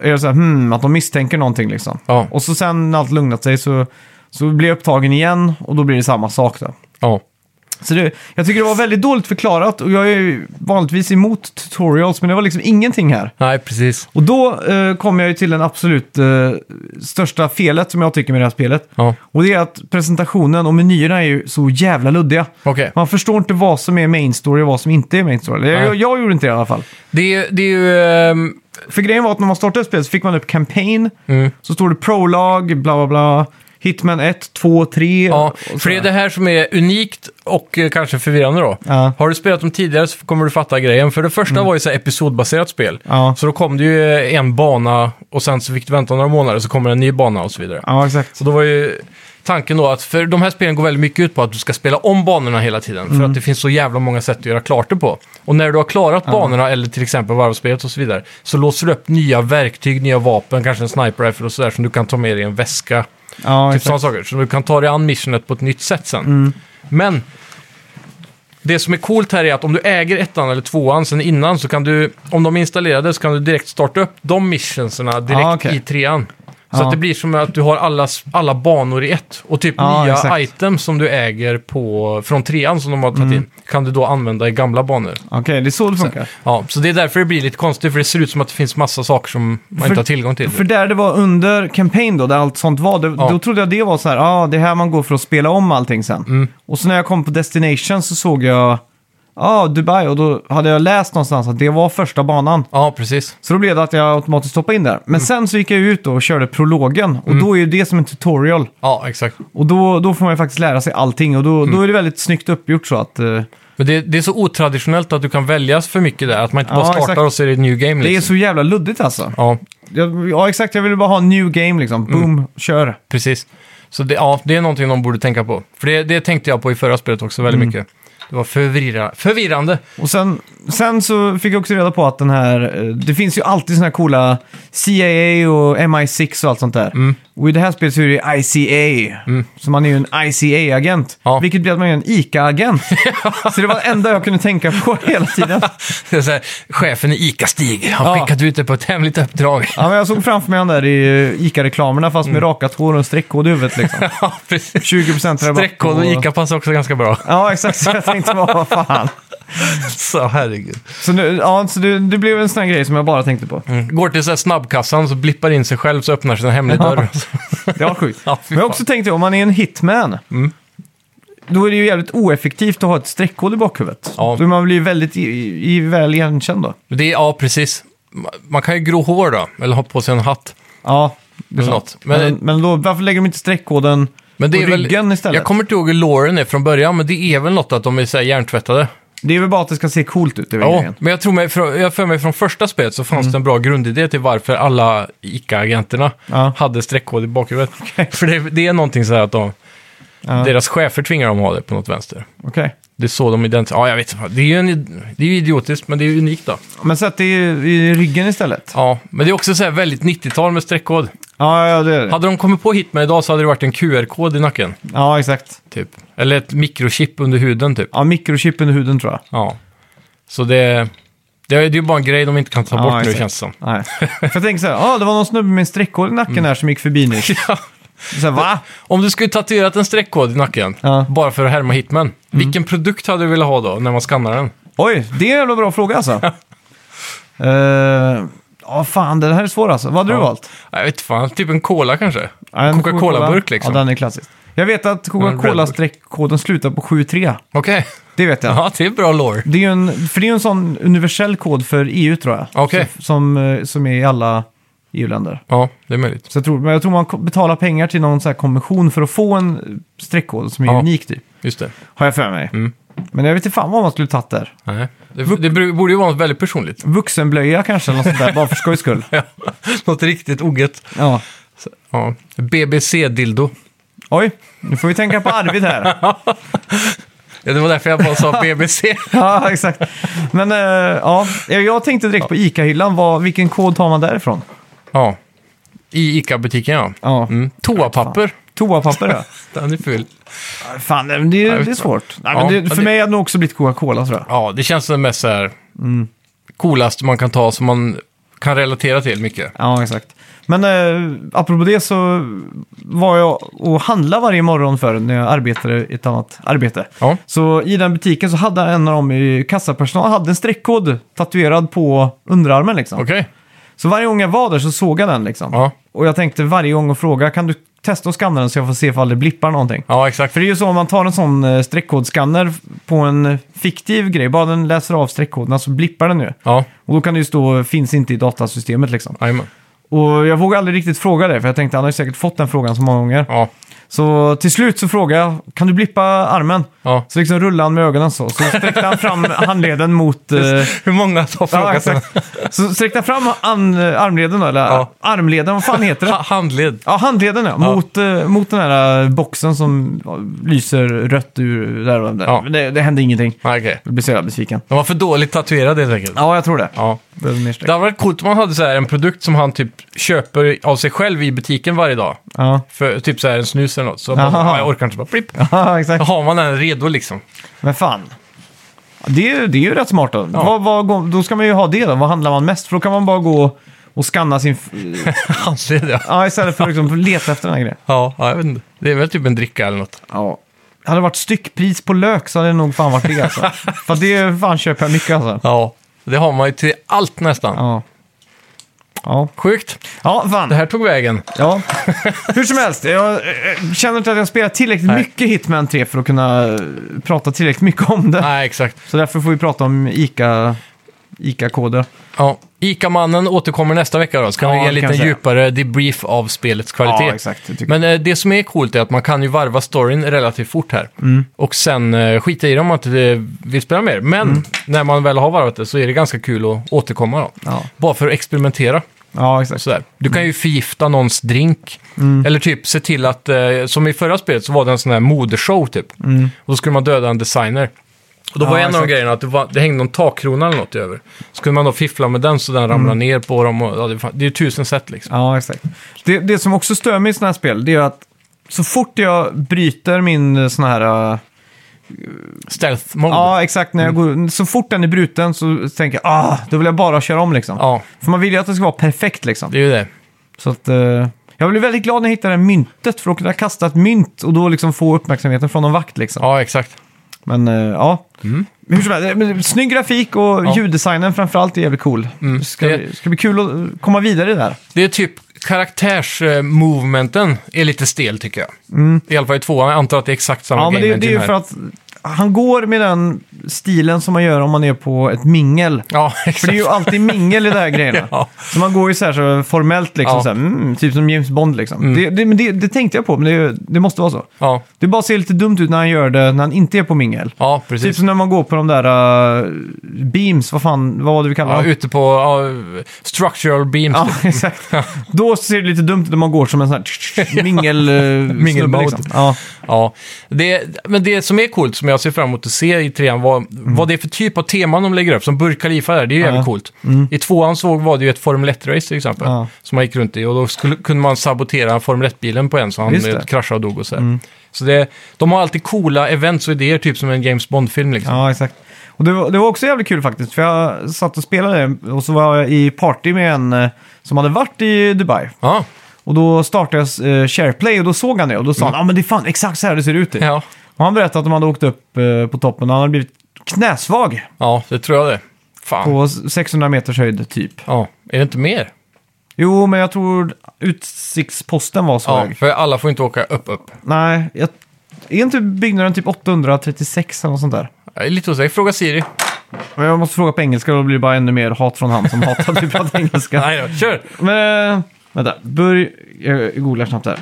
Speaker 1: är det så här, hmm, att de misstänker någonting liksom.
Speaker 2: Ja.
Speaker 1: Och så sen när allt lugnat sig så, så blir jag upptagen igen och då blir det samma sak då.
Speaker 2: ja.
Speaker 1: Så det, jag tycker det var väldigt dåligt förklarat och jag är ju vanligtvis emot tutorials men det var liksom ingenting här.
Speaker 2: Nej, precis.
Speaker 1: Och då eh, kommer jag ju till den absolut eh, största felet som jag tycker med det här spelet.
Speaker 2: Ja.
Speaker 1: Och det är att presentationen och menyerna är ju så jävla luddiga.
Speaker 2: Okej.
Speaker 1: Man förstår inte vad som är main story och vad som inte är main story. Jag,
Speaker 2: Nej.
Speaker 1: jag, jag gjorde inte det i alla fall.
Speaker 2: Det är ju... Det är ju ehm,
Speaker 1: För grejen var att när man startade spelet så fick man upp campaign,
Speaker 2: Mm.
Speaker 1: så står det prolog, bla bla bla, Hitman 1, 2, 3.
Speaker 2: ja,
Speaker 1: och
Speaker 2: för det är det här som är unikt och eh, kanske förvirrande då.
Speaker 1: Ja. Mm.
Speaker 2: Har du spelat dem tidigare så kommer du fatta grejen. För det första var ju så här episodbaserat spel.
Speaker 1: Ja.
Speaker 2: Så då kom det ju eh, en bana och sen så fick du vänta några månader så kommer en ny bana och så vidare.
Speaker 1: Ja, exakt.
Speaker 2: Så då var ju tanken då att, för de här spelen går väldigt mycket ut på att du ska spela om banorna hela tiden.
Speaker 1: Mm.
Speaker 2: För att det finns så jävla många sätt att göra klart det på. Och när du har klarat banorna, eller till exempel varvspelet och så vidare, så låser du upp nya verktyg, nya vapen, kanske en sniper rifle och sådär som du kan ta med dig i en väska.
Speaker 1: Ja,
Speaker 2: Typ sådana
Speaker 1: exakt. Mm.
Speaker 2: saker. Så du kan ta dig an missionet på ett nytt sätt sen. Men det som är coolt här är att om du äger ettan eller tvåan sen innan så kan du, om de är installerade så kan du direkt starta upp de missionserna direkt
Speaker 1: Ah, okej. Ah.
Speaker 2: i trean. Så
Speaker 1: Ja.
Speaker 2: att det blir som att du har alla, alla banor i ett. Och typ
Speaker 1: Ja,
Speaker 2: nya
Speaker 1: Ah, exakt. Mm.
Speaker 2: items som du äger på, från trean som de har tagit in kan du då använda i gamla banor.
Speaker 1: Okej, det är så det funkar.
Speaker 2: Ja, så det är därför det blir lite konstigt för det ser ut som att det finns massa saker som man
Speaker 1: För-
Speaker 2: inte har tillgång till.
Speaker 1: För där det var under campaign då, där allt sånt var, det,
Speaker 2: Ja.
Speaker 1: då trodde jag det var så här, ja, ah, det är här man går för att spela om allting sen.
Speaker 2: Mm.
Speaker 1: Och så när jag kom på Destination så såg jag, ja, ah, Dubai, och då hade jag läst någonstans att det var första banan.
Speaker 2: Ja, precis.
Speaker 1: Så då blev det att jag automatiskt hoppade in där. Men
Speaker 2: Mm.
Speaker 1: sen så gick jag ut då och körde prologen, och då är ju det som en tutorial.
Speaker 2: Ja, exakt.
Speaker 1: Och då, då får man ju faktiskt lära sig allting och då, då är det väldigt snyggt uppgjort så att eh,
Speaker 2: Men det, det är så otraditionellt att du kan väljas för mycket där. Att man inte bara
Speaker 1: Ja,
Speaker 2: startar
Speaker 1: exakt.
Speaker 2: och så är det ett new game.
Speaker 1: det är
Speaker 2: Liksom.
Speaker 1: så jävla luddigt alltså.
Speaker 2: Ja,
Speaker 1: Jag, ja exakt, jag ville bara ha en new game liksom. Boom, kör.
Speaker 2: precis. Så det, ja, det är någonting de borde tänka på. För det, det tänkte jag på i förra spelet också väldigt
Speaker 1: Mm.
Speaker 2: mycket. Det var förvirra, förvirrande.
Speaker 1: Och sen, sen så fick jag också reda på att den här, eh, det finns ju alltid såna här coola CIA och MI6 och allt sånt där. Och i det här spelet så är det ICA, så man är ju en ICA-agent.
Speaker 2: Ja.
Speaker 1: Vilket blir att man är en ICA-agent. så det var det enda jag kunde tänka på hela tiden.
Speaker 2: Det är så här, chefen i ICA-Stig har
Speaker 1: Ja.
Speaker 2: skickat ut det på ett hemligt uppdrag.
Speaker 1: Ja, men jag såg framför mig han där i eh, ICA-reklamerna fast med rakat hår och en streckkod i huvudet liksom.
Speaker 2: ja, precis.
Speaker 1: 20% rabatt.
Speaker 2: Streckkod och
Speaker 1: på-
Speaker 2: ICA passar också ganska bra.
Speaker 1: Ja, exakt. Så jag tänkte bara, vad fan.
Speaker 2: Så herregud.
Speaker 1: Så, nu, ja, så det, det blev en
Speaker 2: Mm.
Speaker 1: sån här grej som jag bara tänkte på.
Speaker 2: Går till så här snabbkassan så blippar in sig själv så öppnar sig en hemlig dörr.
Speaker 1: Det var sjukt.
Speaker 2: Ja, fy
Speaker 1: Men jag har
Speaker 2: fan. Mm.
Speaker 1: också tänkt, om man är en hitman, då är det ju jävligt oeffektivt att ha ett streckkod i bakhuvudet.
Speaker 2: Ja.
Speaker 1: Då man blir ju väldigt i, i, i- väl igenkänd då.
Speaker 2: Det är, ja, precis. Ma- Man kan ju gro hår då, eller ha på sig en hatt.
Speaker 1: Ja, det är
Speaker 2: Eller
Speaker 1: sant.
Speaker 2: något. Men-
Speaker 1: Men, men då, varför lägger de inte streckkoden
Speaker 2: Men det
Speaker 1: på
Speaker 2: är väl,
Speaker 1: ryggen istället?
Speaker 2: Jag kommer inte ihåg hur låren är från början, men det är väl något att de är så här hjärntvättade.
Speaker 1: Det är väl bara att det ska se coolt ut, det är väl
Speaker 2: Ja,
Speaker 1: grejen.
Speaker 2: men jag tror mig, från- jag för mig från första spelet så fanns
Speaker 1: Mm.
Speaker 2: det en bra grundidé till varför alla ICA-agenterna
Speaker 1: Ja.
Speaker 2: hade streckkod i bakhuvudet. För det, det är någonting så här att de, deras chefer tvingar dem att ha det på något vänster.
Speaker 1: Okej.
Speaker 2: Det är så de identifierar. Ja, jag vet inte. Det är ju en, det är ju idiotiskt, men det är ju unikt då.
Speaker 1: Men sätt det i, i ryggen istället.
Speaker 2: Ja, men det är också så här väldigt 90-tal med streckkod.
Speaker 1: Ja, ja, det är det.
Speaker 2: Hade de kommit på Hitman idag så hade det varit en QR-kod i nacken,
Speaker 1: Ja, exakt.
Speaker 2: typ. Eller ett mikrochip under huden, typ.
Speaker 1: Ja, mikrochip under huden tror jag.
Speaker 2: Ja. Så det, det är ju bara en grej de inte kan ta
Speaker 1: Ja,
Speaker 2: bort nu,
Speaker 1: exakt.
Speaker 2: känns det som. Mm.
Speaker 1: Nej. För jag tänker så här, ah, det var någon snubbe med en streckkod i nacken här som gick förbi nu.
Speaker 2: Ja.
Speaker 1: Så här, va?
Speaker 2: Om du skulle tatuerat en streckkod i nacken,
Speaker 1: Ja. Mm.
Speaker 2: bara för att härma Hitman, vilken produkt hade du velat ha då, när man skannar den?
Speaker 1: Oj, det är en jävla bra fråga alltså. Eh, Ja, fan, det här är svårt alltså. Vad hade du
Speaker 2: Ja.
Speaker 1: valt?
Speaker 2: Jag vet fan, typ en cola kanske?
Speaker 1: Ja, en
Speaker 2: Coca-Cola-burk liksom?
Speaker 1: Ja, den är klassisk. Jag vet att
Speaker 2: En Red Bull.
Speaker 1: Coca-Cola-streckkoden slutar på 73.
Speaker 2: Okej.
Speaker 1: Det vet jag.
Speaker 2: Ja, det är bra lore.
Speaker 1: Det är ju en, för det är ju en sån universell kod för EU tror jag.
Speaker 2: Okej.
Speaker 1: Så- Som, eh, som är i alla EU-länder.
Speaker 2: Ja, det är möjligt.
Speaker 1: Så jag tror, men jag tror man ko- betalar pengar till någon sån här kommission för att få en eh, streckkod som är
Speaker 2: Ja.
Speaker 1: unik typ.
Speaker 2: Just det.
Speaker 1: Har jag för mig.
Speaker 2: Mm.
Speaker 1: Men jag vet inte fan vad man skulle tagit där.
Speaker 2: Nej. Det, det bru- borde ju vara något väldigt personligt.
Speaker 1: Vuxenblöja kanske eller något sånt där, bara för skojs skull.
Speaker 2: något riktigt ogget.
Speaker 1: Ja.
Speaker 2: Ja. BBC-dildo.
Speaker 1: Oj, nu får vi tänka på Arvid här.
Speaker 2: Ja, det var därför jag bara sa BBC.
Speaker 1: ja, exakt. Men eh, ja, jag tänkte direkt på ICA-hyllan. Vad, vilken kod tar man därifrån?
Speaker 2: ja. I ICA-butiken, ja.
Speaker 1: Ja.
Speaker 2: Mm. Toapapper.
Speaker 1: Toapapper ja.
Speaker 2: Den är ful.
Speaker 1: Fan, det, det
Speaker 2: vet
Speaker 1: är
Speaker 2: inte.
Speaker 1: svårt. Nej,
Speaker 2: Ja,
Speaker 1: men det,
Speaker 2: men
Speaker 1: för
Speaker 2: det-
Speaker 1: mig hade det nog också blivit Coca-Cola tror jag.
Speaker 2: Ja, det känns som det mest så här
Speaker 1: Mm.
Speaker 2: coolaste man kan ta som man kan relatera till mycket.
Speaker 1: Ja, exakt. Men eh, apropå det så var jag och handlade varje morgon förr när jag arbetade i ett annat arbete.
Speaker 2: Ja.
Speaker 1: Så i den butiken så hade en av dem i kassapersonal hade en streckkod tatuerad på underarmen liksom.
Speaker 2: Okej.
Speaker 1: Så varje gång jag var där så såg jag den liksom.
Speaker 2: Ja.
Speaker 1: Och jag tänkte varje gång och fråga, kan du testa att skanna den så jag får se ifall det blippar någonting?
Speaker 2: Ja, exakt.
Speaker 1: För det är ju så om man tar en sån eh, streckkodskanner på en fiktiv grej, bara den läser av streckkoderna så blippar den ju.
Speaker 2: Ja,
Speaker 1: Och då kan det ju stå finns inte i datasystemet liksom.
Speaker 2: jajamän.
Speaker 1: Och jag vågade aldrig riktigt fråga det, för jag tänkte han har ju säkert fått den frågan så många gånger.
Speaker 2: Ja,
Speaker 1: Så till slut så frågade jag, kan du blippa armen?
Speaker 2: ja.
Speaker 1: Så liksom rullade han med ögonen så, så sträckte han fram handleden mot... eh,
Speaker 2: Hur många har
Speaker 1: ja,
Speaker 2: frågat den?
Speaker 1: exakt. Så sträckte han fram an, armleden, då, eller
Speaker 2: Ja.
Speaker 1: armleden, vad fan heter det?
Speaker 2: Ha- Handled.
Speaker 1: Ja, handleden ja. Mot, eh, mot den här boxen som ja, lyser rött ur där. och där.
Speaker 2: Ja.
Speaker 1: Men det, det hände ingenting.
Speaker 2: Nej, okej.
Speaker 1: Jag blev så jävla besviken.
Speaker 2: De var för dåligt tatuerade helt enkelt.
Speaker 1: Ja, jag tror det.
Speaker 2: Ja.
Speaker 1: Behöver mer streck.
Speaker 2: Det hade varit coolt om man hade så här en produkt som han typ köper av sig själv i butiken varje dag.
Speaker 1: Ja,
Speaker 2: För typ så här en snus eller något. Så
Speaker 1: Jaha.
Speaker 2: bara, ja, jag orkar inte. Så bara, blipp.
Speaker 1: ja exakt.
Speaker 2: Då har man den redo liksom.
Speaker 1: Men fan. Det är, ju- det är ju rätt smart då. Vad, vad, går- då ska man ju ha det då. Vad handlar man mest? För då kan man bara gå och scanna sin... f-
Speaker 2: Handled, ja.
Speaker 1: Ja, istället för att liksom leta efter den här grejen.
Speaker 2: Ja, ja, jag vet inte. Det är väl typ en dricka eller något.
Speaker 1: Ja. Hade det varit styckpris på lök så hade det nog fan varit det alltså. för det fan köper jag mycket alltså.
Speaker 2: Ja, det har man ju till allt nästan.
Speaker 1: Ja. Ja,
Speaker 2: Sjukt.
Speaker 1: ja
Speaker 2: Det
Speaker 1: fan.
Speaker 2: här tog vägen.
Speaker 1: Ja. Hur som helst, jag eh, känner inte att jag spelar tillräckligt mycket Hitman 3 för att kunna eh, prata tillräckligt mycket om det.
Speaker 2: Nej, exakt.
Speaker 1: Så därför får vi prata om ICA- ICA-koder.
Speaker 2: Ja. Ica-mannen återkommer nästa vecka då, så kan
Speaker 1: Ja,
Speaker 2: vi ge
Speaker 1: det
Speaker 2: en
Speaker 1: kan
Speaker 2: liten
Speaker 1: jag säga.
Speaker 2: djupare debrief av spelets kvalitet.
Speaker 1: Ja, exakt. Det tycker jag.
Speaker 2: Men eh, det som är coolt är att man kan ju varva storyn relativt fort här.
Speaker 1: Mm.
Speaker 2: Och sen eh, skita i det om man inte eh, vill spela mer. Men
Speaker 1: Mm.
Speaker 2: när man väl har varvat det så är det ganska kul att återkomma då.
Speaker 1: Ja.
Speaker 2: Bara för att experimentera.
Speaker 1: Ja, exakt.
Speaker 2: Sådär. Du kan ju förgifta någons drink.
Speaker 1: Mm.
Speaker 2: Eller typ se till att, eh, som i förra spelet så var det en sån här modeshow typ. Och då skulle man döda en designer. Och då
Speaker 1: Mm. Ja,
Speaker 2: var en av de
Speaker 1: exakt.
Speaker 2: grejerna att det, var, det hängde någon takkrona eller något över. Så kunde man då fiffla med den så den ramlade ner på dem. Och, ja, det, fan- det är ju tusen sätt liksom.
Speaker 1: Mm. Ja, exakt. Det, det som också stör mig i sådana här spel, det är att så fort jag bryter min eh, sån här... eh,
Speaker 2: Stealth mode.
Speaker 1: ja, exakt. När jag
Speaker 2: Mm.
Speaker 1: går, så fort den är bruten så tänker jag ah, då vill jag bara köra om liksom.
Speaker 2: Ja,
Speaker 1: För man vill ju att det ska vara perfekt liksom.
Speaker 2: det är ju det.
Speaker 1: Så att, eh, jag blev väldigt glad när jag hittade det här myntet för att kunna kasta ett mynt och då liksom få uppmärksamheten från någon vakt liksom.
Speaker 2: Ja, exakt.
Speaker 1: Men eh, ja, hur som helst, eh, men snygg grafik och
Speaker 2: Ja. Mm.
Speaker 1: ljuddesignen framförallt är jävligt cool. Det ska,
Speaker 2: det-
Speaker 1: ska bli kul att eh, komma vidare där.
Speaker 2: Det är typ karaktärsmovementen är lite stel tycker jag. I alla fall i tvåan, jag antar att det är exakt samma
Speaker 1: Mm. Ja, men
Speaker 2: game
Speaker 1: det, det är ju
Speaker 2: engine
Speaker 1: för
Speaker 2: här.
Speaker 1: att han går med den stilen som man gör om man är på ett mingel.
Speaker 2: Ja,
Speaker 1: För det är
Speaker 2: exakt.
Speaker 1: ju alltid mingel i de här grejerna.
Speaker 2: Ja.
Speaker 1: Så man går ju så här så formellt liksom,
Speaker 2: Ja. Mm.
Speaker 1: så här, mm, typ som James Bond liksom. Det, det, men det, det tänkte jag på, men det, det måste vara så.
Speaker 2: Ja,
Speaker 1: Det bara ser lite dumt ut när han gör det när han inte är på mingel.
Speaker 2: ja, precis.
Speaker 1: Typ som när man går på de där äh, beams, vad fan, vad var det vi kallade
Speaker 2: Ja,
Speaker 1: dem?
Speaker 2: ute på ja, structural beams.
Speaker 1: Ja,
Speaker 2: typ.
Speaker 1: exakt. Då ser det lite dumt ut när man går som en sån här mingel... eh,
Speaker 2: Mingelmode.
Speaker 1: snubbe, Liksom. Ja.
Speaker 2: Ja, det, men det som är coolt, som jag ser fram emot att se i trean, vad,
Speaker 1: Mm.
Speaker 2: vad det är för typ av teman de lägger upp. Som Burj Khalifa där, det är ju jävligt coolt. I tvåan såg var det ju ett Formel 1-race till exempel,
Speaker 1: Mm. Ja.
Speaker 2: som man gick runt i. Och då skulle, kunde man sabotera Formel 1-bilen på en, så han
Speaker 1: Just det. Mm.
Speaker 2: eh, kraschade och dog och så här. Så det, de har alltid coola events och idéer, typ som en James Bond-film liksom.
Speaker 1: Ja, exakt. Och det, var, det var också jävligt kul faktiskt, för jag satt och spelade och så var jag i party med en eh, som hade varit i Dubai.
Speaker 2: Ja,
Speaker 1: Och då startade jag eh, SharePlay och då såg han det och då sa han ja ah, men det är fan exakt så här det ser ut. typ."
Speaker 2: Mm. ja.
Speaker 1: Och han berättade att de hade åkt upp eh, på toppen och han hade blivit knäsvag
Speaker 2: ja det tror jag det. Fan.
Speaker 1: på 600 meters höjd typ.
Speaker 2: Ja, är det inte mer?
Speaker 1: Jo, men jag tror utsiktsposten var så
Speaker 2: Ja,
Speaker 1: hög.
Speaker 2: för alla får inte åka upp, upp.
Speaker 1: Nej, jag, är inte byggnaden typ 836 eller något sånt där?
Speaker 2: Jag är lite osäker. Fråga Siri.
Speaker 1: Men jag måste fråga på engelska, då blir det bara ännu mer hat från han som hatar typ att vi pratar engelska.
Speaker 2: Nej då, kör!
Speaker 1: Men, vänta. Burj... Jag googlar snabbt här.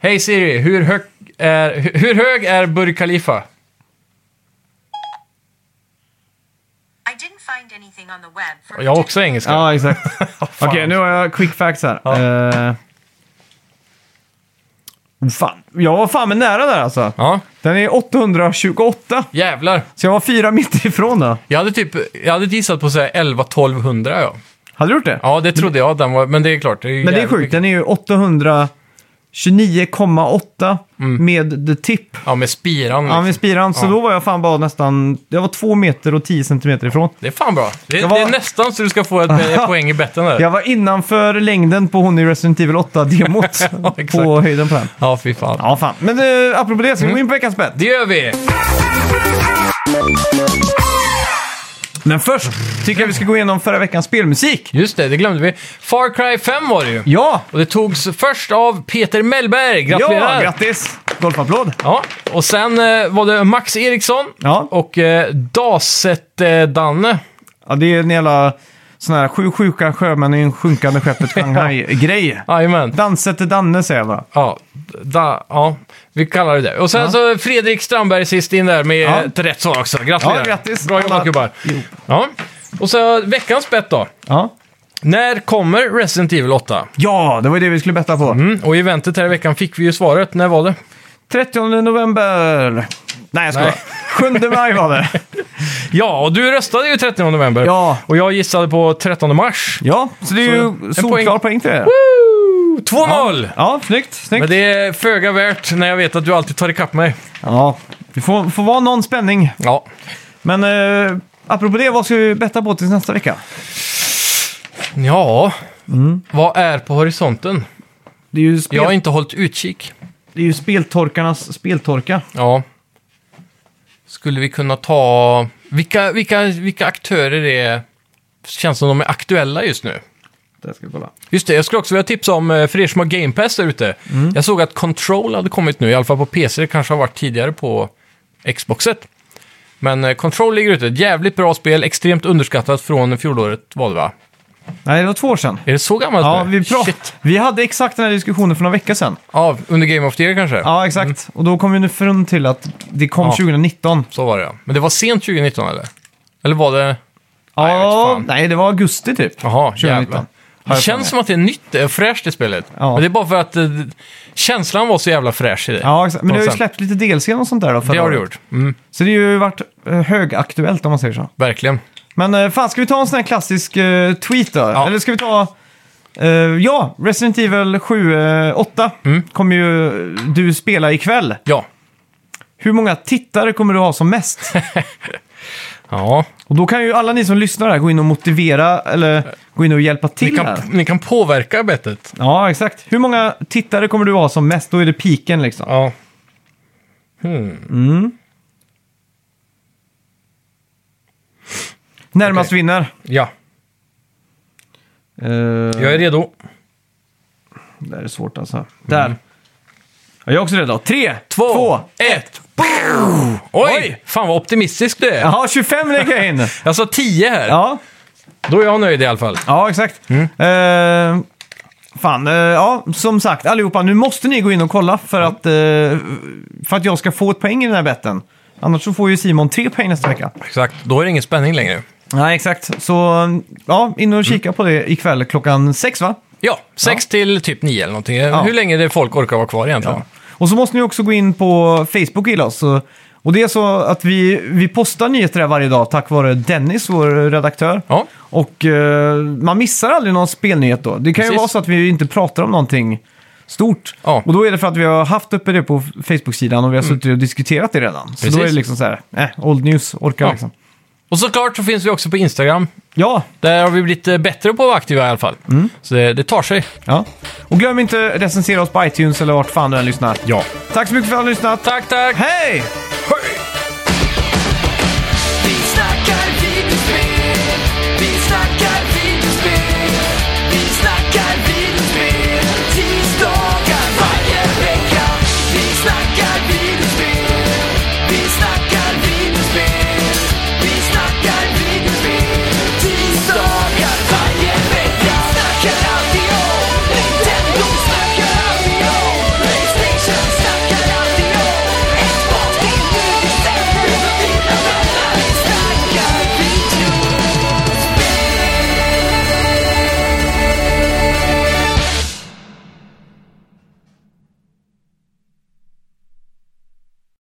Speaker 2: Hej Siri, hur hög är, hu- hur hög är Burj Khalifa?
Speaker 4: I didn't find anything on the web for
Speaker 2: Jag har också engelska.
Speaker 1: Ja, exakt. Okej, nu har jag quick facts här.
Speaker 2: Ja.
Speaker 1: Eh, oh, fan. Jag var fan med nära där alltså.
Speaker 2: Ja,
Speaker 1: Den är 828.
Speaker 2: jävlar.
Speaker 1: Så jag var fyra meter ifrån då.
Speaker 2: Jag hade typ, jag hade gissat på såhär 11-1200 ja.
Speaker 1: Hade du gjort det?
Speaker 2: Ja, det trodde jag att den var, men det är klart. ju
Speaker 1: Mm. Men det är
Speaker 2: jävligt
Speaker 1: sjukt.
Speaker 2: mycket.
Speaker 1: Den är ju 829,8 med the tip.
Speaker 2: Mm. Ja, med spiran.
Speaker 1: Ja,
Speaker 2: Liksom.
Speaker 1: med spiran. Så
Speaker 2: Ja.
Speaker 1: då var jag fan bara nästan... Jag var två meter och 10 centimeter ifrån.
Speaker 2: Det är fan bra. Det,
Speaker 1: Jag var-
Speaker 2: det är nästan så du ska få ett, ett poäng i betten där.
Speaker 1: Jag var innanför längden på hon i Resident Evil 8-demot.
Speaker 2: exakt.
Speaker 1: på höjden på den.
Speaker 2: Ja, fy fan.
Speaker 1: Ja, fan. Men uh, apropå det, ska vi
Speaker 2: Mm.
Speaker 1: gå in på veckans bett?
Speaker 2: Det gör vi!
Speaker 1: Men först tycker jag vi ska gå igenom förra veckans spelmusik.
Speaker 2: Just det, det glömde vi. Far Cry 5 var det ju.
Speaker 1: Ja!
Speaker 2: Och det togs först av Peter Mellberg. Gratulerar!
Speaker 1: Ja, grattis! Golfapplåd.
Speaker 2: Ja, och sen eh, var det Max Eriksson
Speaker 1: Ja.
Speaker 2: och eh, Daset-Danne.
Speaker 1: Ja, det är en jävla sån här sju sjuka sjömän i en sjunkande skeppet Shanghai-grej.
Speaker 2: Jajamän.
Speaker 1: Danse till Danne säger jag bara.
Speaker 2: Ja, da, ja, vi kallar det det. Och sen så Fredrik Strandberg sist in där med
Speaker 1: Ja.
Speaker 2: ett rätt svar också. Gratulerar!
Speaker 1: Ja, grattis.
Speaker 2: Bra
Speaker 1: Alla-
Speaker 2: jobbat gubbar!
Speaker 1: Jo.
Speaker 2: Ja. Och så veckans bett då.
Speaker 1: Ja.
Speaker 2: När kommer Resident Evil 8?
Speaker 1: ja, det var ju det vi skulle betta på.
Speaker 2: Mm, och i eventet här i veckan fick vi ju svaret. När var det?
Speaker 1: 30 november. Nej, jag skojar.
Speaker 2: Nej.
Speaker 1: 7 maj var det.
Speaker 2: Ja, och du röstade ju 30 november.
Speaker 1: Ja.
Speaker 2: Och jag gissade på 13 mars.
Speaker 1: Ja, så det är
Speaker 2: Så, en
Speaker 1: ju
Speaker 2: poäng.
Speaker 1: solklar poäng till det.
Speaker 2: 2-0!
Speaker 1: Ja, snyggt, snyggt.
Speaker 2: Men det är föga värt när jag vet att du alltid tar ikapp mig.
Speaker 1: Ja, det får, får vara någon spänning.
Speaker 2: Ja.
Speaker 1: Men eh, apropå det, vad ska vi betta på tills nästa vecka?
Speaker 2: Ja.
Speaker 1: Mm.
Speaker 2: Vad är på horisonten?
Speaker 1: Det är ju, spel,
Speaker 2: Jag har inte hållit utkik.
Speaker 1: det är ju speltorkarnas speltorka.
Speaker 2: Ja. Skulle vi kunna ta... Vilka, vilka, vilka aktörer är... Känns som de är aktuella just nu.
Speaker 1: Det ska vi kolla.
Speaker 2: Just det, jag skulle också vilja tipsa om, eh, för er som har Game Pass där ute.
Speaker 1: Mm.
Speaker 2: Jag såg att Control hade kommit nu, i alla fall på PC. Det kanske har varit tidigare på Xboxet. Men eh, Control ligger ute. Ett jävligt bra spel, extremt underskattat från fjolåret var det va?
Speaker 1: Nej, det var två år sedan.
Speaker 2: Är det så gammalt
Speaker 1: Ja,
Speaker 2: nu?
Speaker 1: vi,
Speaker 2: Shit.
Speaker 1: prat, vi hade exakt den här diskussionen för några veckor sedan.
Speaker 2: Ja, under Game of the Year kanske?
Speaker 1: Ja, exakt. Och då kom vi nu fram till att det kom
Speaker 2: Mm. Ja.
Speaker 1: 2019.
Speaker 2: Så var det ja. Men det var sent 2019 eller? Eller var det...
Speaker 1: Ja,
Speaker 2: jag vet fan.
Speaker 1: nej, det var augusti typ.
Speaker 2: Jaha,
Speaker 1: 2019.
Speaker 2: jävlar.
Speaker 1: Har
Speaker 2: Det
Speaker 1: jag för mig.
Speaker 2: känns som att det är nytt, eh, fräscht i spelet.
Speaker 1: Ja.
Speaker 2: Men det är bara för att eh, känslan var så jävla fräsch i det.
Speaker 1: Ja, exakt. Men det har ju
Speaker 2: Någonstans.
Speaker 1: släppt lite DLC och sånt där då förra
Speaker 2: Det har det
Speaker 1: året.
Speaker 2: gjort. Mm,
Speaker 1: Så det har ju varit eh, högaktuellt om man säger så.
Speaker 2: verkligen.
Speaker 1: Men eh, fan, ska vi ta en sån här klassisk eh, tweet då?
Speaker 2: Ja.
Speaker 1: Eller ska vi ta... eh, ja, Resident Evil 7, eh, 8
Speaker 2: Mm.
Speaker 1: kommer ju du spela ikväll.
Speaker 2: Ja.
Speaker 1: Hur många tittare kommer du ha som mest?
Speaker 2: Ja.
Speaker 1: och då kan ju alla ni som lyssnar här gå in och motivera eller gå in och hjälpa till
Speaker 2: Ni kan,
Speaker 1: här.
Speaker 2: ni kan påverka bettet.
Speaker 1: Ja, exakt. Hur många tittare kommer du ha som mest? Då är det piken liksom.
Speaker 2: Ja. Hmm.
Speaker 1: Närmast
Speaker 2: okej.
Speaker 1: vinner.
Speaker 2: Ja,
Speaker 1: Eh,
Speaker 2: jag är redo.
Speaker 1: Det här är svårt alltså.
Speaker 2: Mm.
Speaker 1: Där. Jag är också redo. Tre, två,
Speaker 2: ett, boom! Oj, Fan vad optimistisk du är.
Speaker 1: Jaha, 25 lägger jag in.
Speaker 2: Jag sa 10 här.
Speaker 1: Ja,
Speaker 2: Då är jag nöjd i alla fall.
Speaker 1: ja exakt. Eh, fan, eh, ja, som sagt allihopa, nu måste ni gå in och kolla för att, eh, för att jag ska få ett poäng i den här betten. Annars så får ju Simon tre poäng nästa vecka.
Speaker 2: Exakt, då är det ingen spänning längre.
Speaker 1: Nej, exakt. Så ja, in och kika på det ikväll klockan sex va?
Speaker 2: Ja, 6 till typ 9 eller någonting. Hur länge det folk orkar vara kvar egentligen.
Speaker 1: Och så måste ni också gå in på Facebook och gilla oss. Så- Och det är så att vi, vi postar nyheter där varje dag tack vare Dennis, vår redaktör.
Speaker 2: Ja.
Speaker 1: Och eh, man missar aldrig någon spelnyhet då. Det kan ju
Speaker 2: Precis.
Speaker 1: vara så att vi inte pratar om någonting stort.
Speaker 2: Ja. Mm.
Speaker 1: Och då är det för att vi har haft uppe det på Facebook-sidan och vi har suttit och diskuterat det redan. Så
Speaker 2: Precis.
Speaker 1: då är det liksom så här, eh, old news, orkar
Speaker 2: Ja.
Speaker 1: liksom.
Speaker 2: Och såklart så finns vi också på Instagram.
Speaker 1: Ja,
Speaker 2: Där har vi blivit eh, bättre på att vara aktiva i alla fall.
Speaker 1: Mm.
Speaker 2: Så det, det tar sig.
Speaker 1: ja. Och glöm inte recensera oss på iTunes eller vart fan du än lyssnar.
Speaker 2: Ja.
Speaker 1: Tack så mycket för att ni har lyssnat.
Speaker 2: Tack, tack!
Speaker 1: Hej!